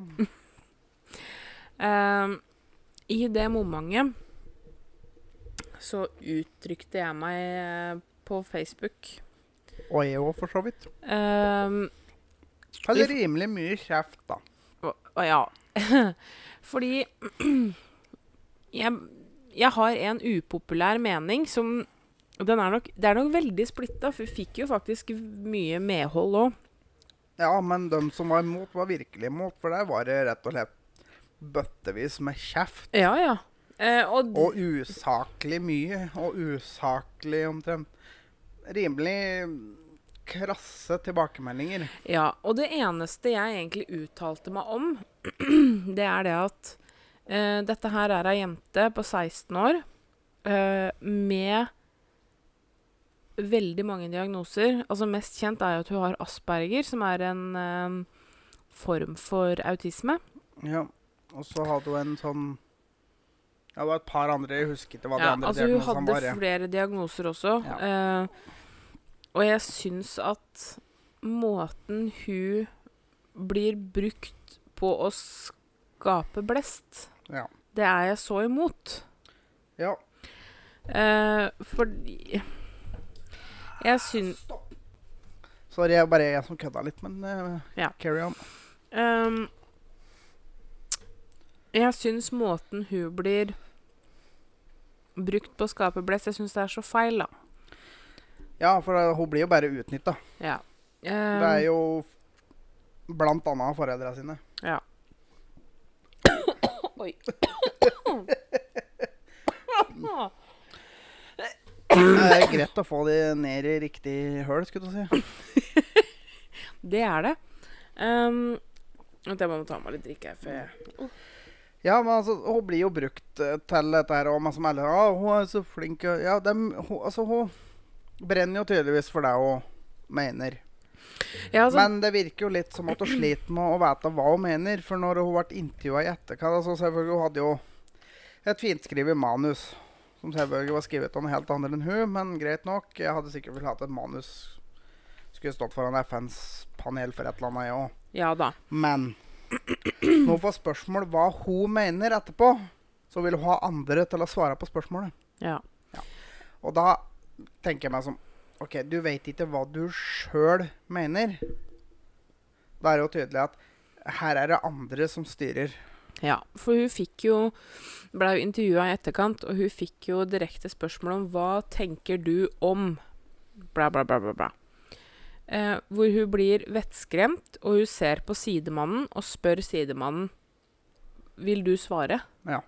Speaker 2: Ehm, I det momentet så uttrykte jeg meg eh, på Facebook.
Speaker 1: Og jeg òg, for så vidt.
Speaker 2: Ehm,
Speaker 1: Eller rimelig mye kjeft, da.
Speaker 2: Og, og ja. Fordi jeg, jeg har en upopulær mening som den er nok, Det er nok veldig splitta, for vi fikk jo faktisk mye medhold òg.
Speaker 1: Ja, men de som var imot, var virkelig imot. For der var det rett og slett bøttevis med kjeft.
Speaker 2: Ja, ja. Eh, og, d-
Speaker 1: Og usaklig mye. Og usaklig omtrent. Rimelig krasse tilbakemeldinger.
Speaker 2: ja, og det eneste jeg egentlig uttalte meg om, det er det at eh, dette her er ei jente på 16 år eh, med veldig mange diagnoser. Altså Mest kjent er jo at hun har asperger, som er en eh, form for autisme.
Speaker 1: Ja. Og så hadde hun en sånn Ja, det var et par andre. Jeg husker ikke hva de
Speaker 2: Ja,
Speaker 1: andre sånn
Speaker 2: altså Hun
Speaker 1: diagnosene
Speaker 2: hadde
Speaker 1: var. ja.
Speaker 2: flere diagnoser også. eh, og jeg syns at måten hun blir brukt på å skape blest,
Speaker 1: Ja.
Speaker 2: det er jeg så imot.
Speaker 1: ja.
Speaker 2: Eh, fordi Jeg syns
Speaker 1: Stopp. Sorry, jeg bare jeg som kødda litt, men eh,
Speaker 2: Ja.
Speaker 1: carry on.
Speaker 2: ehm, Jeg syns måten hun blir brukt på å skape blest, jeg syns det er så feil, da.
Speaker 1: Ja, for eh, hun blir jo bare utnytta.
Speaker 2: Ja. Eh,
Speaker 1: Det er jo f- blant annet av foreldra sine.
Speaker 2: Ja. Oi.
Speaker 1: Det er greit å få de ned i riktig høl, skulle du si.
Speaker 2: Det er det. Ehm, Vent, jeg bare må ta meg litt drikke her før jeg
Speaker 1: Ja, men altså, hun blir jo brukt eh, til dette her, og masse melder Ja, hun er så flink og Ja, dem, hun, altså, hun brenner jo tydeligvis for det hun mener.
Speaker 2: ja, altså,
Speaker 1: Men det virker jo litt som at hun sliter med å vite hva hun mener. For når hun ble intervjua i etterkant altså Selvfølgelig hun hadde jo et finskrevet manus. Som selvfølgelig var skrevet av noen helt andre enn hun, men greit nok. Jeg hadde sikkert vel hatt et manus skulle stått foran FNs panel for et eller annet, jeg òg.
Speaker 2: Ja da.
Speaker 1: Men når hun får spørsmål hva hun mener etterpå, så vil hun ha andre til å svare på spørsmålet.
Speaker 2: Ja.
Speaker 1: Og da tenker jeg meg som OK, du vet ikke hva du sjøl mener. Da er det jo tydelig at her er det andre som styrer.
Speaker 2: ja. For hun fikk jo Blei jo intervjua i etterkant, og hun fikk jo direkte spørsmål om hva tenker du om bla, bla, bla, bla, bla. Eh, hvor hun blir vettskremt, og hun ser på sidemannen og spør sidemannen Vil du svare?
Speaker 1: Ja.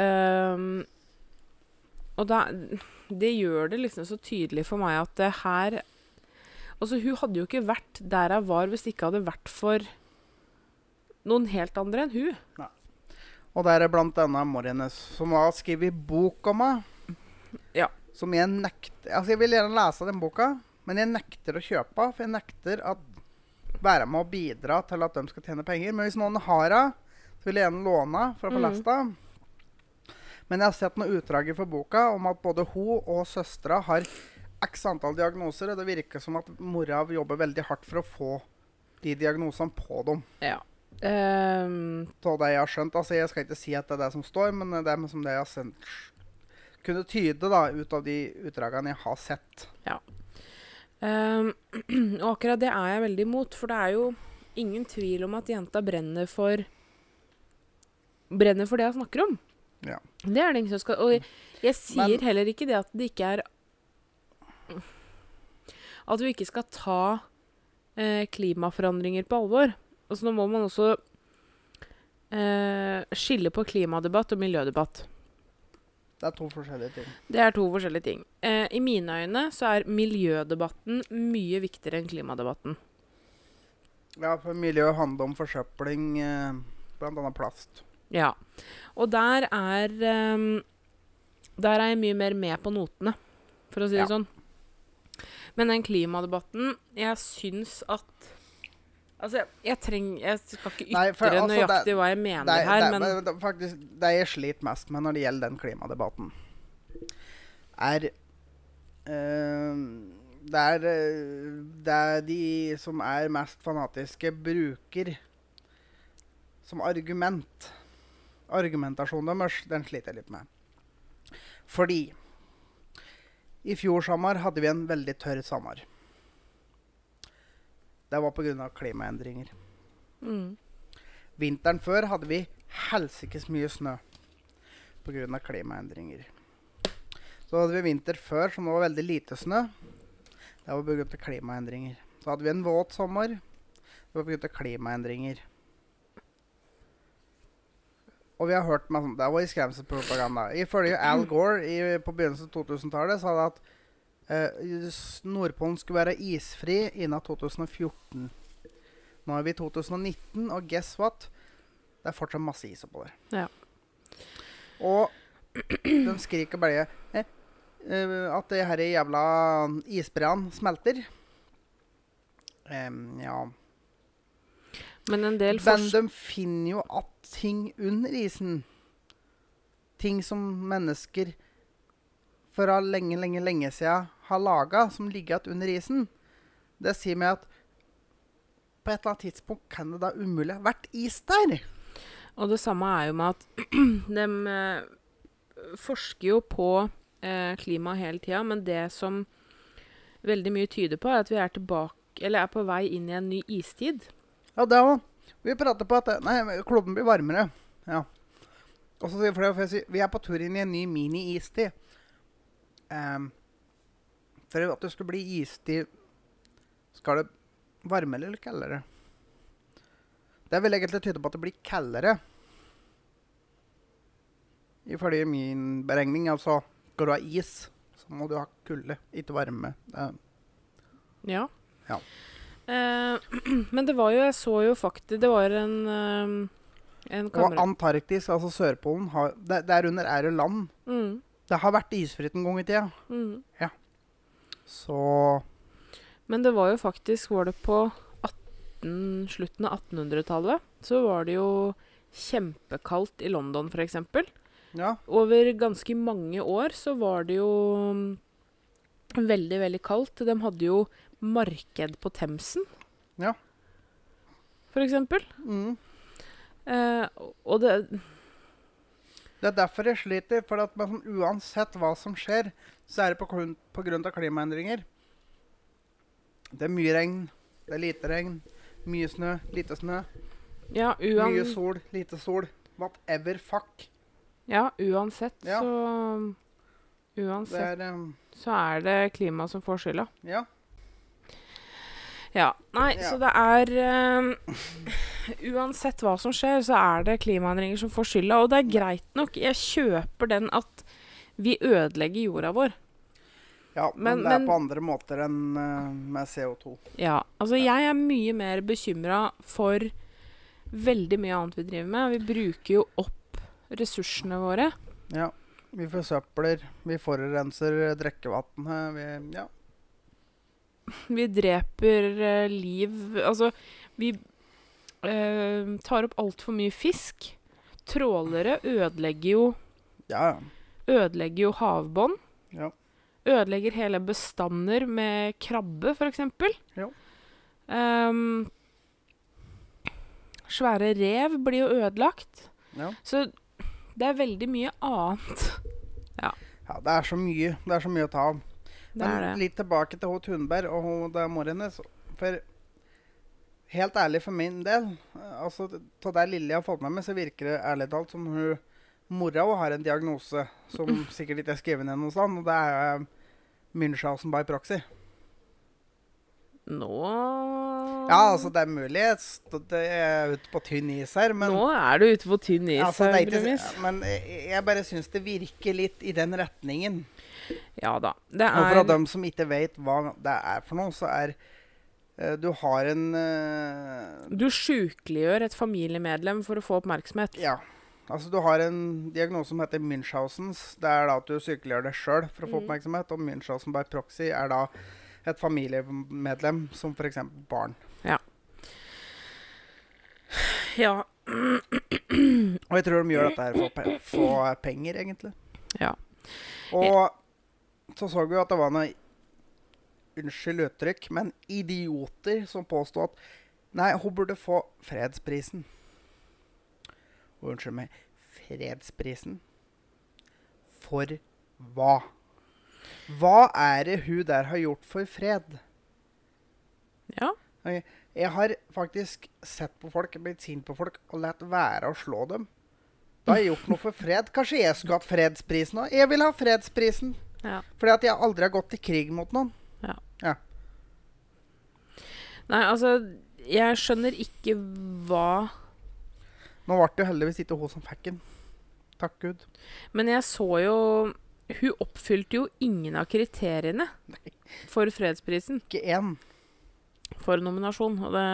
Speaker 2: Ehm, og da, det gjør det liksom så tydelig for meg at det her Altså, hun hadde jo ikke vært der hun var hvis det ikke hadde vært for noen helt andre enn hun.
Speaker 1: Og der er blant annet mor hennes, som har skrevet bok om henne.
Speaker 2: Ja.
Speaker 1: Som jeg nekter Altså, jeg vil gjerne lese den boka, Men jeg nekter å kjøpe av, for jeg nekter at være med å bidra til at de skal tjene penger. Men hvis noen har av, så vil jeg gjerne låne av for å få
Speaker 2: Mhm.
Speaker 1: lest av. Men jeg har sett noen utdrag fra boka om at både hun og søstera har x antall diagnoser, og det virker som at mora jobber veldig hardt for å få de diagnosene på dem.
Speaker 2: Ja. Ehm,
Speaker 1: Så det jeg har skjønt, altså Jeg skal ikke si at det er det som står, men det er som det jeg har sendt, kunne tyde da, ut av de utdragene jeg har sett.
Speaker 2: ehm, og akkurat det er jeg veldig imot, for det er jo ingen tvil om at jenta brenner for Brenner for det hun snakker om.
Speaker 1: Ja.
Speaker 2: Det er det ingen som skal Og jeg, jeg sier
Speaker 1: Men-
Speaker 2: heller ikke det at det ikke er At vi ikke skal ta eh, klimaforandringer på alvor. Altså, nå må man også eh, skille på klimadebatt og miljødebatt.
Speaker 1: Det er to forskjellige ting.
Speaker 2: Det er to forskjellige ting. Eh, I mine øyne så er miljødebatten mye viktigere enn klimadebatten.
Speaker 1: Ja, for Miljø handler om forsøpling, eh, bl.a. plast.
Speaker 2: Ja. Og der er ehm, Der er jeg mye mer med på notene, for å si det
Speaker 1: Ja.
Speaker 2: sånn. Men den klimadebatten Jeg syns at Altså, jeg, jeg trenger Jeg skal ikke ytre
Speaker 1: Nei, for altså, det-
Speaker 2: nøyaktig hva jeg mener
Speaker 1: Det er-
Speaker 2: her,
Speaker 1: det er-
Speaker 2: men
Speaker 1: det er faktisk, det jeg sliter mest med når det gjelder den klimadebatten, er eh, det er, eh, det er de som er mest fanatiske, bruker som argument. Argumentasjonen deres, den sliter jeg litt med. Fordi i fjor sommer hadde vi en veldig tørr sommer. Det var pga. klimaendringer.
Speaker 2: mm,
Speaker 1: Vinteren før hadde vi helsikes mye snø pga. klimaendringer. Så hadde vi vinter før som det var veldig lite snø. Det var pga. klimaendringer. Så hadde vi en våt sommer. Det var pga. klimaendringer. Og vi har hørt meg sånn, Det var i skremselspropaganda. Ifølge Al Gore i, på begynnelsen av 2000-tallet sa det at eh, s- Nordpolen skulle være isfri innen 2014. Nå er vi i 2019, og guess what? Det er fortsatt masse is oppover.
Speaker 2: Ja.
Speaker 1: Og de skriker bare eh, eh, at det her jævla isbreene smelter. Em, ja
Speaker 2: men en del
Speaker 1: Men
Speaker 2: forsk-
Speaker 1: de finner jo at ting under isen Ting som mennesker for lenge, lenge, lenge siden har laga, som ligger igjen under isen. Det sier meg at på et eller annet tidspunkt kan det da umulig ha vært is der.
Speaker 2: Og det samme er jo med at de eh, forsker jo på eh, klima hele tida, men det som veldig mye tyder på, er at vi er tilbake eller er på vei inn i en ny istid.
Speaker 1: Ja, det òg. Vi prater på at Nei, men kloden blir varmere. Ja. Og så sier flere for jeg sier, vi er på tur inn i en ny mini-istid. Ehm, for at det skal bli istid, skal det varme eller kaldere? Det vil egentlig tyde på at det blir kaldere. Ifølge min beregning, altså. Skal du ha is, så må du ha kulde, ikke varme. Det er-
Speaker 2: Ja.
Speaker 1: Ja.
Speaker 2: Eh, men det var jo Jeg så jo faktisk Det var en eh, en
Speaker 1: Og
Speaker 2: kamerat
Speaker 1: Antarktis, altså Sørpolen, har, det, derunder er det land.
Speaker 2: mm,
Speaker 1: Det har vært isfritt en gang i tida.
Speaker 2: mm.
Speaker 1: Så
Speaker 2: Men det var jo faktisk Var det på 18, slutten av 1800-tallet, så var det jo kjempekaldt i London, for eksempel.
Speaker 1: ja.
Speaker 2: Over ganske mange år så var det jo mm, veldig, veldig kaldt. De hadde jo marked på Themsen.
Speaker 1: Ja.
Speaker 2: For eksempel.
Speaker 1: Mm.
Speaker 2: Eh, og det
Speaker 1: Det er derfor jeg sliter. For at man, sånn, uansett hva som skjer, så er det på, grunn, på grunn av klimaendringer. Det er mye regn, det er lite regn, mye snø, lite snø.
Speaker 2: Ja, uan,
Speaker 1: Mye sol, lite sol. Whatever fuck.
Speaker 2: ja uansett
Speaker 1: Ja.
Speaker 2: så mm,
Speaker 1: Det
Speaker 2: Uansett
Speaker 1: er um,
Speaker 2: så er det klimaet som får skylda.
Speaker 1: Ja.
Speaker 2: Ja. Nei,
Speaker 1: Ja.
Speaker 2: så det er eh, Uansett hva som skjer, så er det klimaendringer som får skylda. Og det er greit nok. Jeg kjøper den at vi ødelegger jorda vår.
Speaker 1: ja men,
Speaker 2: Men-
Speaker 1: det er
Speaker 2: men-
Speaker 1: på andre måter enn eh, med CO2.
Speaker 2: Ja, altså jeg er mye mer bekymra for veldig mye annet vi driver med. Vi bruker jo opp ressursene våre.
Speaker 1: Ja. Vi forsøpler, vi forurenser drikkevannet. Vi, ja.
Speaker 2: Vi dreper eh, liv Altså, vi eh, tar opp altfor mye fisk. Trålere ødelegger jo,
Speaker 1: Ja, ja.
Speaker 2: ødelegger jo havbånd.
Speaker 1: Ja.
Speaker 2: Ødelegger hele bestander med krabbe, f.eks.
Speaker 1: Ja.
Speaker 2: Ehm, svære rev blir jo ødelagt.
Speaker 1: Ja.
Speaker 2: Så det er veldig mye annet.
Speaker 1: ja, det er så mye. Det er så mye å ta av.
Speaker 2: Det er det.
Speaker 1: Men litt tilbake til hun Thunberg og hun der mor hennes. For helt ærlig for min del, eh, altså av det lille jeg har fått med meg, så virker det ærlig talt som hun mora hun har en diagnose som sikkert ikke er skrevet ned noe sted, og det er Munchhausen by proxy.
Speaker 2: Nå
Speaker 1: Ja, altså det er mulig jeg st- det er ute på tynn is her, men
Speaker 2: Nå er du ute på tynn is,
Speaker 1: altså, det er ikke,
Speaker 2: Brumis.
Speaker 1: s- Men jeg jeg bare syns det virker litt i den retningen.
Speaker 2: Ja da. Det
Speaker 1: Og fra
Speaker 2: er
Speaker 1: dem som ikke vet hva det er for noe, så er eh, Du har en eh,
Speaker 2: Du sjukeliggjør et familiemedlem for å få oppmerksomhet.
Speaker 1: Ja. Altså, du har en diagnose som heter Munchhausens. Det er da at du sykeliggjør deg sjøl for å få
Speaker 2: Mhm.
Speaker 1: oppmerksomhet. Og Munchhausen by proxy er da et familiemedlem, som f.eks. barn.
Speaker 2: Ja.
Speaker 1: Og jeg tror de gjør dette her for, pe få penger, egentlig.
Speaker 2: Ja.
Speaker 1: Og så så vi jo at det var noen Unnskyld uttrykk, men idioter som påsto at Nei, hun burde få fredsprisen. Og unnskyld meg fredsprisen? For hva? Hva er det hun der har gjort for fred?
Speaker 2: ja.
Speaker 1: Jeg har faktisk sett på folk, blitt sint på folk og latt være å slå dem. Da har jeg gjort noe for fred. Kanskje jeg skulle hatt fredsprisen òg? Jeg vil ha fredsprisen.
Speaker 2: Ja.
Speaker 1: Fordi at jeg aldri har gått til krig mot noen.
Speaker 2: Nei, altså Jeg skjønner ikke hva
Speaker 1: Nå ble det jo heldigvis ikke hun som fikk den. Takk Gud.
Speaker 2: Men jeg så jo Hun oppfylte jo ingen av kriteriene for fredsprisen.
Speaker 1: Ikke én.
Speaker 2: For nominasjon. Og det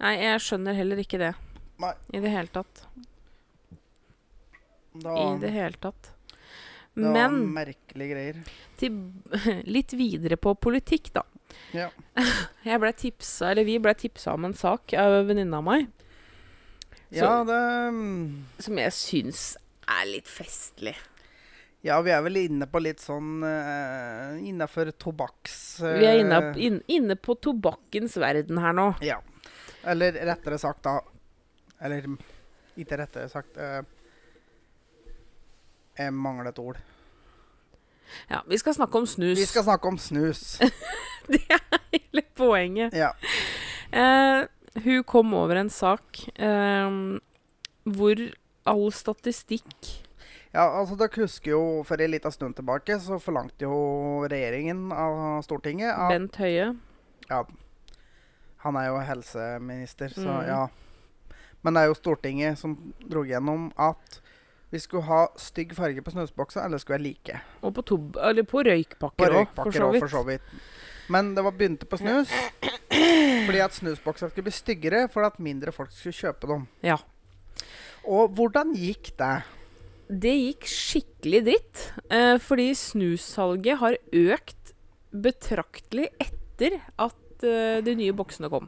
Speaker 2: Nei, jeg skjønner heller ikke det.
Speaker 1: Nei.
Speaker 2: I det hele tatt.
Speaker 1: Da,
Speaker 2: I det hele tatt.
Speaker 1: det var
Speaker 2: Men
Speaker 1: merkelige greier.
Speaker 2: til, litt videre på politikk, da.
Speaker 1: Ja.
Speaker 2: Jeg ble tipsa, eller vi ble tipsa om en sak av en venninne av meg
Speaker 1: ja, det mm,
Speaker 2: som jeg syns er litt festlig.
Speaker 1: Ja, vi er vel inne på litt sånn uh, Innafor tobakks...
Speaker 2: Vi er inne,
Speaker 1: eh,
Speaker 2: inn, inne på tobakkens verden her nå.
Speaker 1: Ja. Eller rettere sagt, da Eller mm, ikke rettere sagt eh, Jeg mangler et ord.
Speaker 2: Ja, Vi skal snakke om snus.
Speaker 1: Vi skal snakke om snus.
Speaker 2: Det er hele poenget.
Speaker 1: Ja.
Speaker 2: Eh, hun kom over en sak eh, hvor all statistikk
Speaker 1: ja, altså Dere husker jo for en liten stund tilbake så forlangte jo regjeringen av Stortinget at
Speaker 2: Bent Høie
Speaker 1: Ja. Han er jo helseminister, så
Speaker 2: Mm.
Speaker 1: ja. Men det er jo Stortinget som dro gjennom at vi skulle ha stygg farge på snusboksa, eller skulle være like.
Speaker 2: Og på, tob eller på
Speaker 1: På
Speaker 2: røykpakker òg, for
Speaker 1: røykpakker
Speaker 2: så
Speaker 1: òg,
Speaker 2: vidt.
Speaker 1: for så vidt. Men det var begynte på snus. Fordi at snusbokser skulle bli styggere for at mindre folk skulle kjøpe dem.
Speaker 2: Ja.
Speaker 1: Og hvordan gikk det?
Speaker 2: Det gikk skikkelig dritt, eh, fordi snussalget har økt betraktelig etter at eh, de nye boksene kom.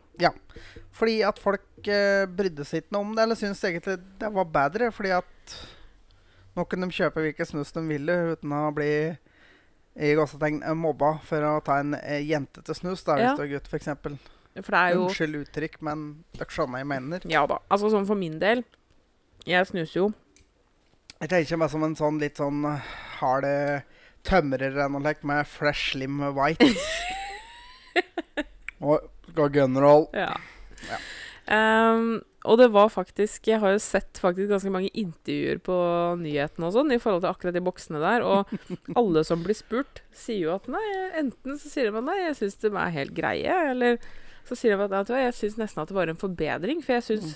Speaker 1: Fordi at folk eh, brydde seg ikke noe om det, eller syntes egentlig det var bedre. Fordi at nå kunne de kjøpe hvilken snus de ville uten å bli i gåsetegn eh, mobba for å ta en eh, jentete snus, da, hvis
Speaker 2: Ja.
Speaker 1: du er gutt, f.eks.
Speaker 2: For det er jo
Speaker 1: Unnskyld uttrykk, men dere skjønner hva jeg mener.
Speaker 2: Ja da. Altså sånn for min del Jeg snuser jo.
Speaker 1: Jeg tenker meg som en sånn litt sånn eh, hard eh, tømrer eller noe slikt med fresh slim white. og skal ha gunroll.
Speaker 2: Ja. Ehm, og det var faktisk Jeg har jo sett faktisk ganske mange intervjuer på nyhetene og sånn i forhold til akkurat de boksene der, og alle som blir spurt, sier jo at nei, enten så sier de at nei, jeg syns de er helt greie, eller så sier de at vet du hva, jeg syns nesten at det var en forbedring, for jeg syns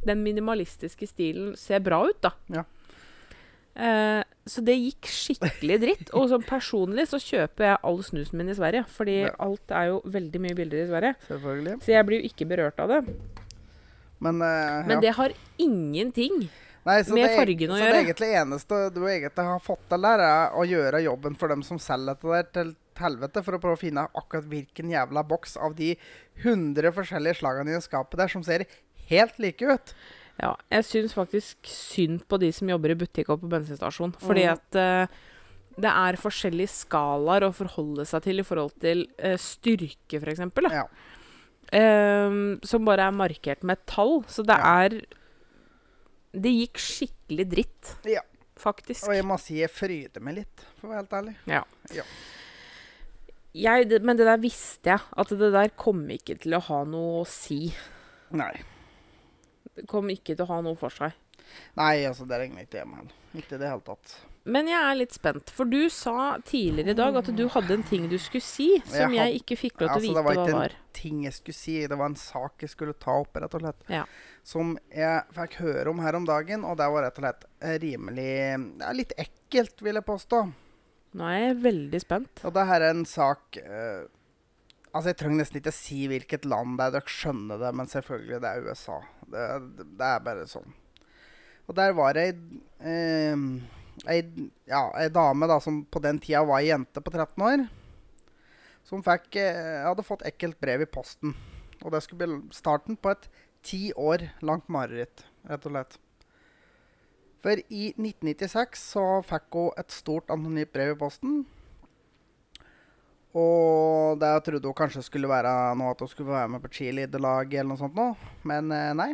Speaker 1: Mm.
Speaker 2: den minimalistiske stilen ser bra ut, da.
Speaker 1: Ja.
Speaker 2: Eh, så det gikk skikkelig dritt. Og sånn personlig så kjøper jeg all snusen min i Sverige, fordi
Speaker 1: Ja.
Speaker 2: alt er jo veldig mye billigere i Sverige.
Speaker 1: Selvfølgelig.
Speaker 2: Så jeg blir jo ikke berørt av det.
Speaker 1: Men, eh,
Speaker 2: Men
Speaker 1: ja.
Speaker 2: det har ingenting.
Speaker 1: Nei, så
Speaker 2: med
Speaker 1: det,
Speaker 2: fargen å
Speaker 1: så
Speaker 2: gjøre.
Speaker 1: det egentlig eneste du egentlig har fått til der, er å gjøre jobben for dem som selger dette der, til helvete for å prøve å finne akkurat hvilken jævla boks av de 100 forskjellige slagene i skapet der som ser helt like ut.
Speaker 2: Ja, jeg syns faktisk synd på de som jobber i butikk og på bensinstasjon. Fordi
Speaker 1: Mm.
Speaker 2: at eh, det er forskjellige skalaer å forholde seg til i forhold til eh, styrke, f.eks.
Speaker 1: Ja.
Speaker 2: Ehm, som bare er markert med et tall. Så det
Speaker 1: Ja.
Speaker 2: er Det gikk skikkelig dritt,
Speaker 1: Ja.
Speaker 2: faktisk.
Speaker 1: Og jeg må si jeg fryder meg litt, for å være helt ærlig.
Speaker 2: Jeg, det, men det der visste jeg, at det der kom ikke til å ha noe å si.
Speaker 1: Nei.
Speaker 2: Det kom ikke til å ha noe for seg.
Speaker 1: Nei, altså, det regner ikke hjemme heller. Ikke i det hele tatt.
Speaker 2: Men jeg er litt spent, for du sa tidligere i dag at du hadde en ting du skulle si som
Speaker 1: Jeg
Speaker 2: jeg,
Speaker 1: had-
Speaker 2: ikke fikk lov til å
Speaker 1: Altså, det
Speaker 2: vite
Speaker 1: var
Speaker 2: hva
Speaker 1: ikke en-
Speaker 2: var.
Speaker 1: Ting jeg skulle si, det var en sak jeg skulle ta opp, rett og slett.
Speaker 2: Ja.
Speaker 1: Som jeg fikk høre om her om dagen, og det var rett og slett eh, rimelig ja, Litt ekkelt, vil jeg påstå.
Speaker 2: Nå er jeg veldig spent.
Speaker 1: Og det her er en sak eh, Altså, Jeg trenger nesten ikke si hvilket land det er, dere skjønner det, men selvfølgelig, det er USA. Det, det er bare sånn. Og der var det ei, eh, ei, ja, ei dame da, som på den tida var ei jente på 13 år, som fikk, eh, hadde fått ekkelt brev i posten. Og det skulle bli starten på et ti år langt mareritt, rett og slett. For i 1996 så fikk hun et stort anonymt brev i posten. Og det jeg trodde hun kanskje skulle være nå at hun skulle være med på cheerleaderlag eller noe sånt nå, men eh, nei.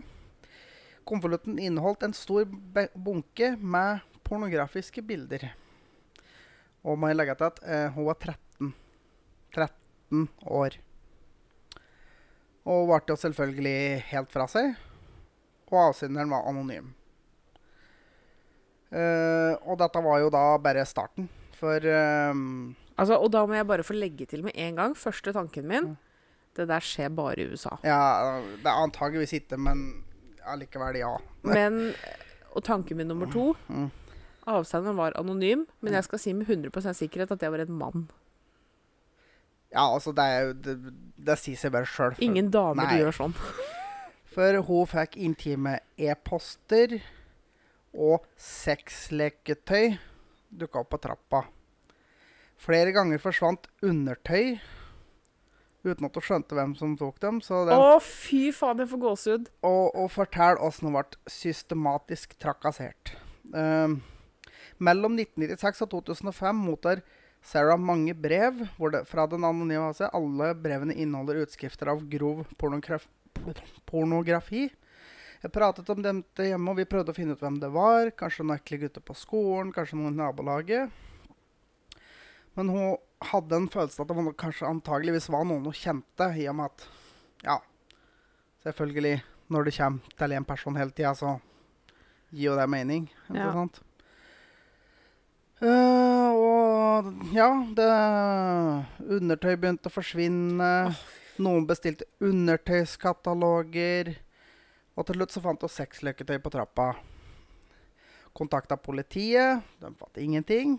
Speaker 1: Konvolutten inneholdt en stor be- bunke med pornografiske bilder. Og må jeg legge til at eh, hun var 13. 13 år. Og hun ble jo selvfølgelig helt fra seg. Og avsenderen var anonym. Eh, og dette var jo da bare starten, for eh,
Speaker 2: Altså, og da må jeg bare få legge til med en gang første tanken min.
Speaker 1: Mm.
Speaker 2: Det der skjer bare i USA.
Speaker 1: Ja, det er antageligvis ikke, men allikevel ja.
Speaker 2: Men, og tanken min nummer to
Speaker 1: Mm.
Speaker 2: Avsenderen var anonym, men jeg skal si med 100 sikkerhet at jeg var en mann.
Speaker 1: Ja, altså, det er jo Det, det sier seg bare sjøl. For,
Speaker 2: Ingen damer
Speaker 1: Nei.
Speaker 2: gjør sånn.
Speaker 1: for hun fikk intime e-poster og sexleketøy dukka opp på trappa. Flere ganger forsvant undertøy uten at hun skjønte hvem som tok dem. Så den,
Speaker 2: Å, fy faen, jeg får gåsehud.
Speaker 1: og, og fortell åssen hun ble systematisk trakassert. Ehm, mellom 1996 og 2005 mottar Sarah mange brev hvor det, fra den anonyme altså, Alle brevene inneholder utskrifter av grov pornograf pornografi. Jeg pratet om dem til hjemme, og vi prøvde å finne ut hvem det var. Kanskje noen ekle gutter på skolen, kanskje noen i nabolaget. Men hun hadde en følelse av at det var, noe- kanskje antageligvis var noen hun kjente, i og med at Ja, selvfølgelig når det kommer til en person hele tida, så gir jo det mening. Ikke
Speaker 2: Ja.
Speaker 1: sant? Eh, og ja, det Undertøy begynte å forsvinne. Noen bestilte undertøyskataloger. Og til slutt så fant hun sexleketøy på trappa. Kontakta politiet. De fant ingenting.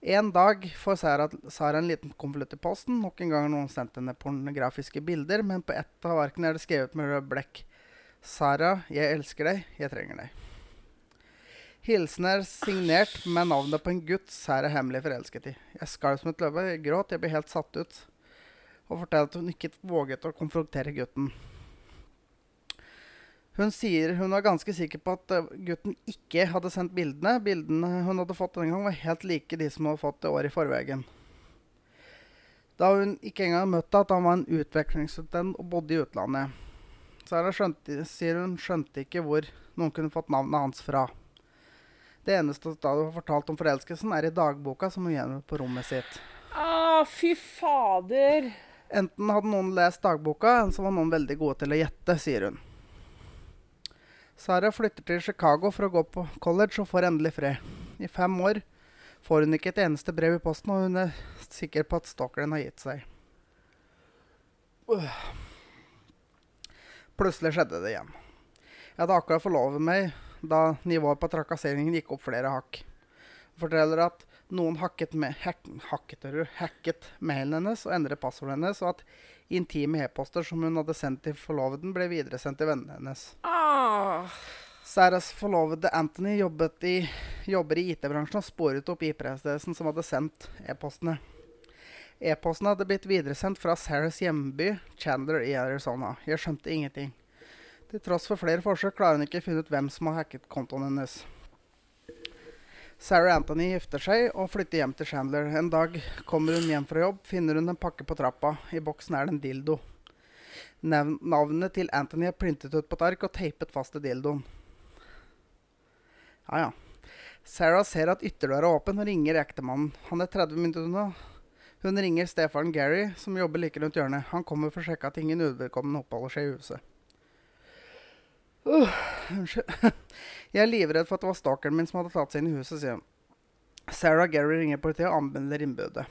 Speaker 1: En dag får Sara, Sara en liten konvolutt i posten. Nok en gang har noen sendt henne pornografiske bilder, men på ett av arkene er det skrevet med rød blekk. Sara, jeg elsker deg. Jeg trenger deg. Hilsen er signert med navnet på en gutt Sara er hemmelig forelsket i. Jeg skalv som et løve, jeg gråt, jeg ble helt satt ut. Og fortalte at hun ikke våget å konfrontere gutten. Hun sier hun var ganske sikker på at eh, gutten ikke hadde sendt bildene. Bildene hun hadde fått denne gangen, var helt like de som hun hadde fått det året i forveien. Da hun ikke engang møtte at han var en utvekslingsstudent og bodde i utlandet. Sara skjønte, sier hun skjønte ikke hvor noen kunne fått navnet hans fra. Det eneste da hun har fortalt om forelskelsen, er i dagboka som hun gjennom på rommet sitt.
Speaker 2: Å, Ah, fy fader.
Speaker 1: Enten hadde noen lest dagboka, eller så var noen veldig gode til å gjette, sier hun. Sara flytter til Chicago for å gå på college og får endelig fred. I fem år får hun ikke et eneste brev i posten, og hun er sikker på at stalkeren har gitt seg. Øh. Plutselig skjedde det igjen. Jeg hadde akkurat forlovet meg da nivået på trakasseringen gikk opp flere hakk. Hun forteller at noen hakket, med, hack, hakket, hører du, hacket mailen hennes og endret passordet hennes, og at intime e-poster som hun hadde sendt til forloveden, ble videresendt til vennene hennes.
Speaker 2: Ah.
Speaker 1: Sarahs forlovede Anthony jobbet i, jobber i IT-bransjen og sporet opp IP-adressen som hadde sendt e-postene. E-posten hadde blitt videresendt fra Sarahs hjemby, Chandler i Arizona. Jeg skjønte ingenting. Til tross for flere forsøk klarer hun ikke å finne ut hvem som har hacket kontoen hennes. Sarah Anthony gifter seg og flytter hjem til Chandler. En dag kommer hun hjem fra jobb, finner hun en pakke på trappa. I boksen er det en dildo. Nav navnet til Anthony er printet ut på et ark og teipet fast til dildoen. Ja, ja. Sarah ser at ytterdøra er åpen og ringer ektemannen. Han er 30 minutter unna. Hun ringer stefaren Gary, som jobber like rundt hjørnet. Han kommer for å sjekke at ingen uvedkommende oppholder seg i huset. Uh, unnskyld. Jeg er livredd for at det var stalkeren min som hadde tatt seg inn i huset, sier hun. Sarah og Gary ringer politiet og anmelder innbruddet.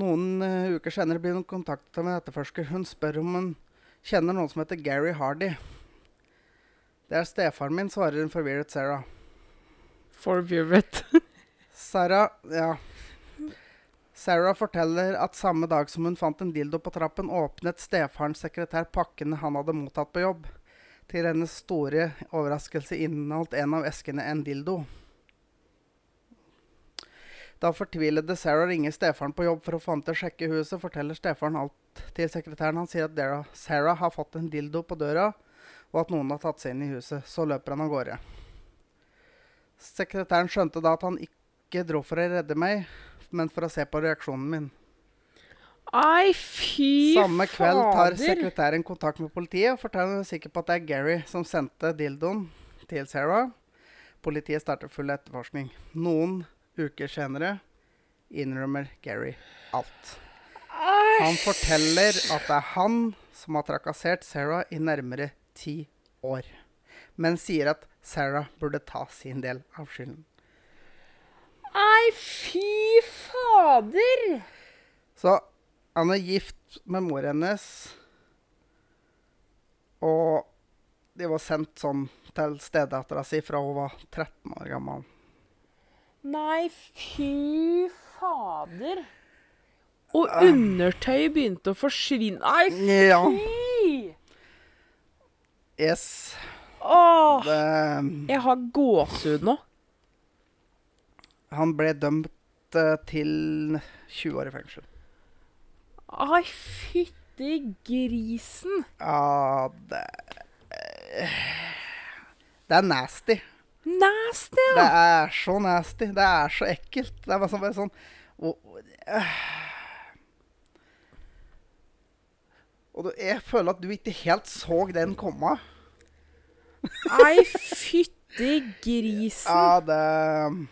Speaker 1: Noen eh, uker senere blir hun kontaktet av en etterforsker. Hun spør om hun kjenner noen som heter Gary Hardy. Det er stefaren min, svarer hun forvirret Sarah.
Speaker 2: For Buret.
Speaker 1: Sarah Ja. Sarah forteller at samme dag som hun fant en dildo på trappen, åpnet stefarens sekretær pakkene han hadde mottatt på jobb. Til hennes store overraskelse inneholdt en av eskene en dildo. Da fortvilede Sarah ringer stefaren på jobb for å få ham til å sjekke huset, forteller stefaren alt til sekretæren. Han sier at Dara- Sarah har fått en dildo på døra, og at noen har tatt seg inn i huset. Så løper han av gårde. Sekretæren skjønte da at han ikke dro for å redde meg, men for å se på reaksjonen min.
Speaker 2: Ai, fy
Speaker 1: Samme kveld tar
Speaker 2: fader.
Speaker 1: sekretæren kontakt med politiet og forteller hun er sikker på at det er Gary som sendte dildoen til Sarah. Politiet starter full etterforskning. Noen uker senere innrømmer Gary alt. Han forteller at det er han som har trakassert Sarah i nærmere ti år, men sier at Sarah burde ta sin del av skylden.
Speaker 2: Ai, fy fader.
Speaker 1: Så han er gift med mor hennes, og de var sendt sånn til stedattera si fra hun var 13 år gammel.
Speaker 2: Nei, fy fader. Og
Speaker 1: Ah.
Speaker 2: undertøy begynte å forsvinne. Ai,
Speaker 1: Ja.
Speaker 2: fy!
Speaker 1: Yes.
Speaker 2: Åh,
Speaker 1: Det,
Speaker 2: jeg har gåsehud nå.
Speaker 1: han ble dømt eh, til 20 år i fengsel.
Speaker 2: Ai, fytti grisen.
Speaker 1: Ja, det Det er nasty.
Speaker 2: Nasty,
Speaker 1: Det
Speaker 2: ja.
Speaker 1: er så nasty. Det er så ekkelt. Det er bare sånn, bare sånn og, og, og du, jeg føler at du ikke helt så den komme.
Speaker 2: Ai, fytti grisen.
Speaker 1: Ja, det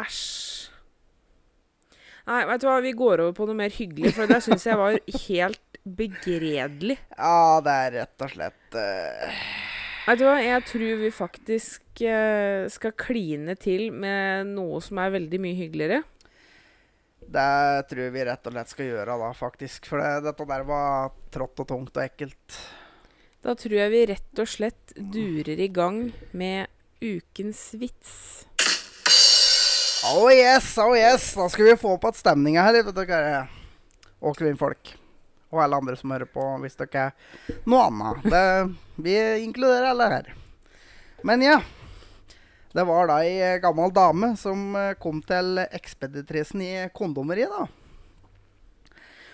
Speaker 2: Æsj. Nei, vet du hva, vi går over på noe mer hyggelig, for det syns jeg var helt begredelig.
Speaker 1: Ja, det er rett og slett eh,
Speaker 2: Vet du hva, jeg tror vi faktisk eh, skal kline til med noe som er veldig mye hyggeligere.
Speaker 1: Det tror jeg vi rett og slett skal gjøre da, faktisk. For det, dette der var trått og tungt og ekkelt.
Speaker 2: Da tror jeg vi rett og slett durer i gang med ukens vits.
Speaker 1: Oh yes, oh yes! Da skal vi få opp igjen stemninga her, vet dere. Og kvinnfolk. Og alle andre som hører på, hvis dere er noe annet. Det, vi inkluderer alle her. Men ja. Det var da ei gammel dame som eh, kom til ekspeditrisen i kondomeriet, da.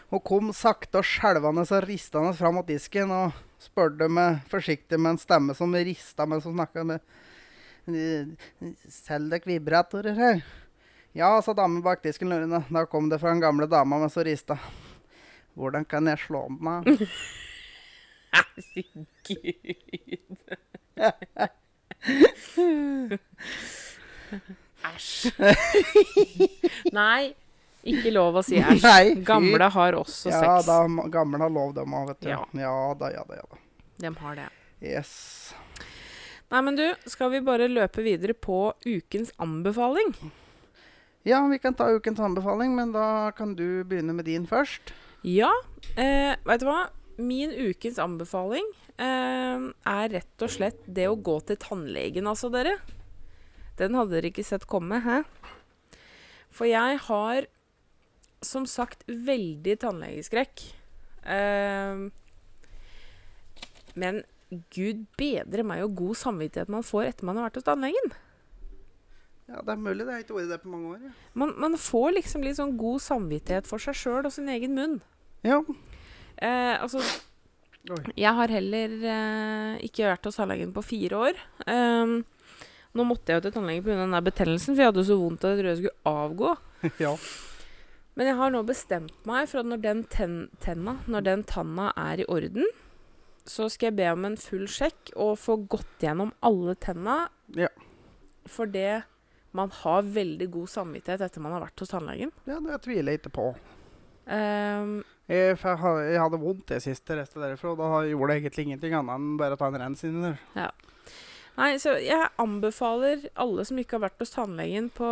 Speaker 1: Hun kom sakte og skjelvende og ristende fram mot disken og spurte med forsiktig med en stemme som rista mens hun snakka med Selger dere vibratorer her? Ja, sa damen bak disken lurende. Da kom det fra den gamle dama mens hun rista. Hvordan kan jeg slå den av?
Speaker 2: Herregud. Æsj. Nei, ikke lov å si æsj.
Speaker 1: Nei, fy.
Speaker 2: Gamle har også
Speaker 1: Ja
Speaker 2: sex.
Speaker 1: da, ma- gamle har lov dem òg, vet du.
Speaker 2: Ja.
Speaker 1: Ja. da, ja da, ja da.
Speaker 2: De har det.
Speaker 1: Yes.
Speaker 2: Nei, men du, skal vi bare løpe videre på ukens anbefaling?
Speaker 1: Ja, vi kan ta ukens anbefaling, men da kan du begynne med din først.
Speaker 2: Ja, eh, vet du hva? Min ukens anbefaling eh, er rett og slett det å gå til tannlegen, altså, dere. Den hadde dere ikke sett komme, hæ? For jeg har som sagt veldig tannlegeskrekk. Eh, men gud bedre meg og god samvittighet man får etter man har vært hos tannlegen.
Speaker 1: Ja, det er mulig. Det har ikke vært det på mange år. Ja.
Speaker 2: Man, man får liksom litt sånn god samvittighet for seg sjøl og sin egen munn.
Speaker 1: Ja.
Speaker 2: Eh, altså,
Speaker 1: Oi.
Speaker 2: jeg har heller eh, ikke vært hos tannlegen på fire år. Ehm, nå måtte jeg jo til tannlegen pga. den der betennelsen, for jeg hadde jo så vondt at jeg trodde jeg skulle avgå.
Speaker 1: ja.
Speaker 2: Men jeg har nå bestemt meg for at når den, ten tenna, når den tanna er i orden, så skal jeg be om en full sjekk og få gått gjennom alle tenna.
Speaker 1: Ja.
Speaker 2: For det man har veldig god samvittighet etter man har vært hos tannlegen.
Speaker 1: ja, det tviler jeg ikke på.
Speaker 2: Ehm,
Speaker 1: Jeg, for jeg ha- jeg hadde vondt det siste restet derifra, og da har- gjorde jeg egentlig ingenting annet enn bare å ta en rens inn der.
Speaker 2: nei, så jeg anbefaler alle som ikke har vært hos tannlegen på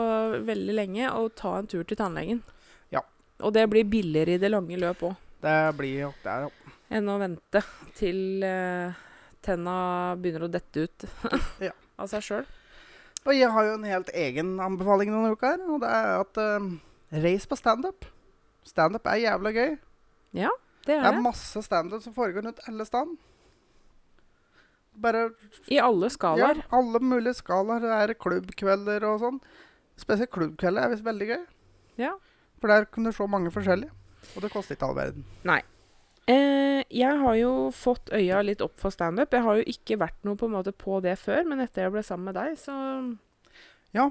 Speaker 2: veldig lenge, å ta en tur til tannlegen.
Speaker 1: Ja.
Speaker 2: Og det blir billigere i det lange løp òg,
Speaker 1: Det blir jo det, er jo.
Speaker 2: enn å vente til eh, tenna begynner å dette ut
Speaker 1: Ja.
Speaker 2: av seg sjøl.
Speaker 1: Og jeg har jo en helt egen anbefaling denne uka her, og det er at eh, reis på standup. Standup er jævla gøy.
Speaker 2: Det
Speaker 1: Det
Speaker 2: er
Speaker 1: er
Speaker 2: det.
Speaker 1: masse standup som foregår rundt alle stand. Bare
Speaker 2: I alle skalaer.
Speaker 1: Ja, alle mulige skalaer. Det er klubbkvelder og sånn. Spesielt klubbkvelder er visst veldig gøy.
Speaker 2: Ja.
Speaker 1: For der kan du se mange forskjellige. Og det koster ikke all verden.
Speaker 2: Eh, jeg har jo fått øya litt opp for standup. Jeg har jo ikke vært noe på, en måte på det før, men etter jeg ble sammen med deg, så
Speaker 1: Ja.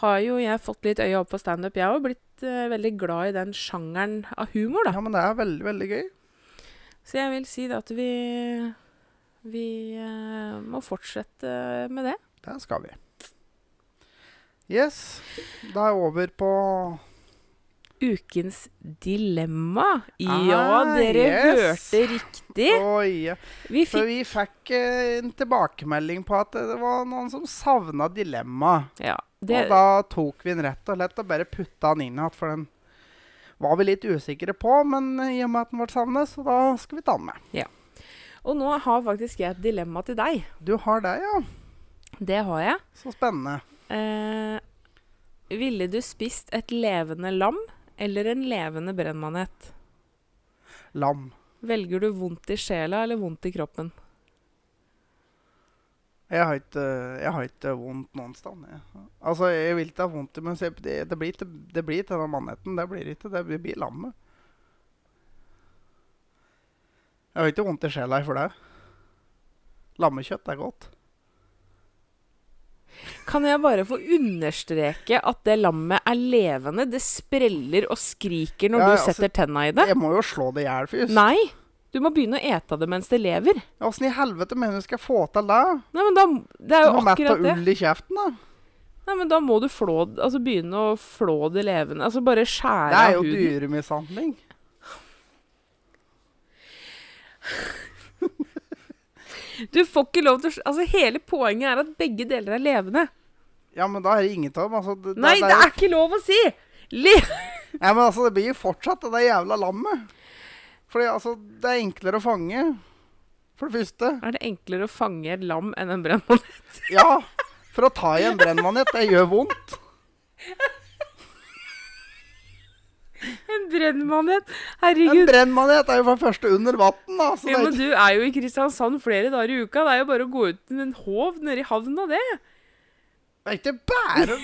Speaker 2: har jo jeg fått litt øya opp for standup. Jeg har jo blitt eh, veldig glad i den sjangeren av humor, da.
Speaker 1: Ja, men det er veldig, veldig gøy.
Speaker 2: Så jeg vil si det at vi, vi eh, må fortsette med det.
Speaker 1: Det skal vi. Yes. Da er jeg over på
Speaker 2: Ukens dilemma. Ja,
Speaker 1: Ah,
Speaker 2: dere
Speaker 1: yes.
Speaker 2: hørte riktig.
Speaker 1: Oi. ja.
Speaker 2: Vi
Speaker 1: For
Speaker 2: fikk
Speaker 1: vi fikk eh, en tilbakemelding på at det var noen som savna dilemmaet.
Speaker 2: Ja. Det,
Speaker 1: Og da tok vi den rett og slett og bare putta den inn igjen, for den var vi litt usikre på. Men i og med at den ble savnet, så da skal vi ta den med.
Speaker 2: og nå har faktisk jeg et dilemma til deg.
Speaker 1: Du har det, ja.
Speaker 2: Det har jeg.
Speaker 1: Så spennende.
Speaker 2: Eh, ville du spist et levende lam eller en levende brennmanet?
Speaker 1: Lam.
Speaker 2: Velger du vondt i sjela eller vondt i kroppen?
Speaker 1: Jeg har ikke, jeg har ikke vondt noen sted. Jeg. Altså, jeg vil ikke ha vondt, men se, det, det blir ikke det blir ikke denne mannheten. Det blir ikke, det blir, blir lammet. Jeg har ikke vondt i sjela for det. Lammekjøtt er godt.
Speaker 2: Kan jeg bare få understreke at det lammet er levende? Det spreller og skriker når
Speaker 1: Ja,
Speaker 2: du
Speaker 1: altså-
Speaker 2: setter tenna i det.
Speaker 1: Jeg må jo slå det i hjel først.
Speaker 2: Nei! Du må begynne å ete det mens det lever.
Speaker 1: Åssen i helvete mener du skal jeg få til det?
Speaker 2: Nei, men da, det er
Speaker 1: Du
Speaker 2: jo
Speaker 1: må mette
Speaker 2: akkurat det.
Speaker 1: ull i kjeften, da.
Speaker 2: Nei, men da må du flå, altså begynne å flå det levende. Altså bare skjære
Speaker 1: Det er
Speaker 2: av
Speaker 1: jo
Speaker 2: huden.
Speaker 1: dyremishandling.
Speaker 2: Du får ikke lov til å Altså hele poenget er at begge deler er levende.
Speaker 1: Ja, men da er det ingen av dem. Altså, det,
Speaker 2: Nei, det
Speaker 1: jo-
Speaker 2: er ikke lov å si! Le
Speaker 1: Ja, men altså, det blir jo fortsatt det der jævla lammet. Fordi altså, det er enklere å fange. For det første.
Speaker 2: er det enklere å fange et lam enn en brennmann?
Speaker 1: Ja, for å ta i en brennmanet, det gjør vondt.
Speaker 2: En brennmanet!
Speaker 1: En
Speaker 2: Herregud.
Speaker 1: brennmanet er jo for det første under vann, da. Så det
Speaker 2: Ja,
Speaker 1: er
Speaker 2: men
Speaker 1: ikke...
Speaker 2: du er jo i Kristiansand flere dager i uka. Det er jo bare å gå ut med en håv nedi havna, det.
Speaker 1: det er ikke bare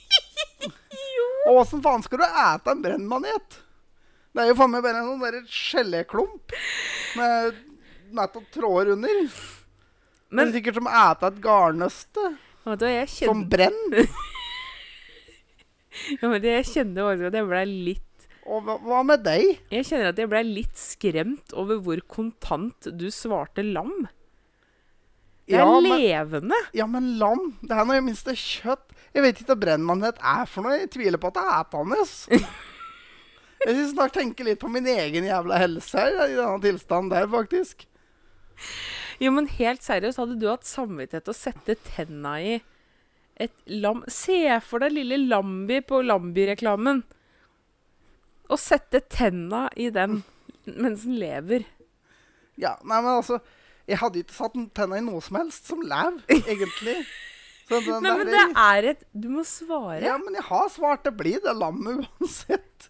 Speaker 2: Jo.
Speaker 1: Og åssen faen skal du ete en brennmanet? Det er jo faen meg bare en sånn derre geléklump med nett og tråder under. Men
Speaker 2: Men
Speaker 1: det er sikkert som å ete et garnnøste
Speaker 2: vet du, hva, jeg
Speaker 1: som
Speaker 2: kjenner,
Speaker 1: brenner.
Speaker 2: ja, men jeg kjenner faktisk at jeg ble litt
Speaker 1: Og hva, hva med deg?
Speaker 2: Jeg kjenner at jeg ble litt skremt over hvor kontant du svarte lam. Det er
Speaker 1: Ja, men-
Speaker 2: levende.
Speaker 1: Ja, men lam, det er noe i det minste kjøtt. Jeg vet ikke hva brennmanet er for noe. Jeg tviler på at det er etende. Jeg skal snart tenke litt på min egen jævla helse her, i denne tilstanden der, faktisk.
Speaker 2: Jo, men helt seriøst, hadde du hatt samvittighet til å sette tenna i et lam Se for deg lille Lambi på Lambi-reklamen. Og sette tenna i den mens den lever.
Speaker 1: Ja, nei, men altså, jeg hadde ikke satt tenna i noe som helst som lev, egentlig. Så den
Speaker 2: Nei, men det er et Du må svare.
Speaker 1: Ja, men jeg har svart det blir det lammet uansett.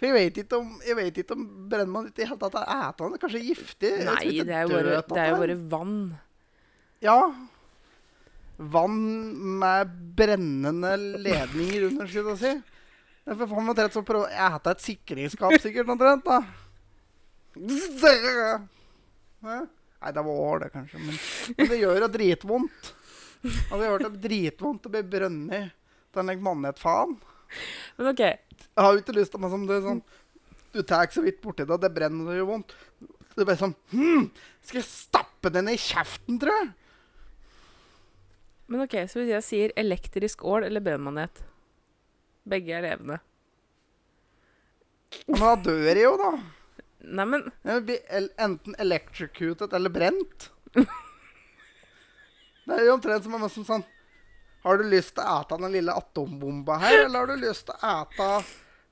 Speaker 1: For jeg vet ikke om, jeg vet ikke om brennmanet i det hele tatt er etende. Kanskje giftig? Jeg tror
Speaker 2: Nei,
Speaker 1: ikke
Speaker 2: det er jo
Speaker 1: død
Speaker 2: bare,
Speaker 1: av
Speaker 2: det er
Speaker 1: det.
Speaker 2: jo bare vann.
Speaker 1: Ja. vann med brennende ledninger under, skulle jeg si. Det er for faen meg trett så prøv... Jeg hadde et sikringsskap sikkert omtrent, da. Hæ? Nei, det var år, det, kanskje. Men, men det gjør jo dritvondt. Altså, Og det gjør det dritvondt å bli brønnet til en mannhet-faen.
Speaker 2: Men OK.
Speaker 1: Jeg har jo ikke lyst til meg som det er sånn Du tar ikke så vidt borti det, det brenner og det gjør vondt. Det er bare sånn hm, Skal jeg stappe den i kjeften, tror jeg?
Speaker 2: Men ok, Så hvis jeg sier elektrisk ål eller brennmanet Begge er levende.
Speaker 1: Ja, Men da dør jeg jo, da.
Speaker 2: Neimen
Speaker 1: Jeg blir el- enten electrocuted eller brent. Det er jo omtrent som om som sånn Har du lyst til å ete den lille atombomba her, eller har du lyst til å ete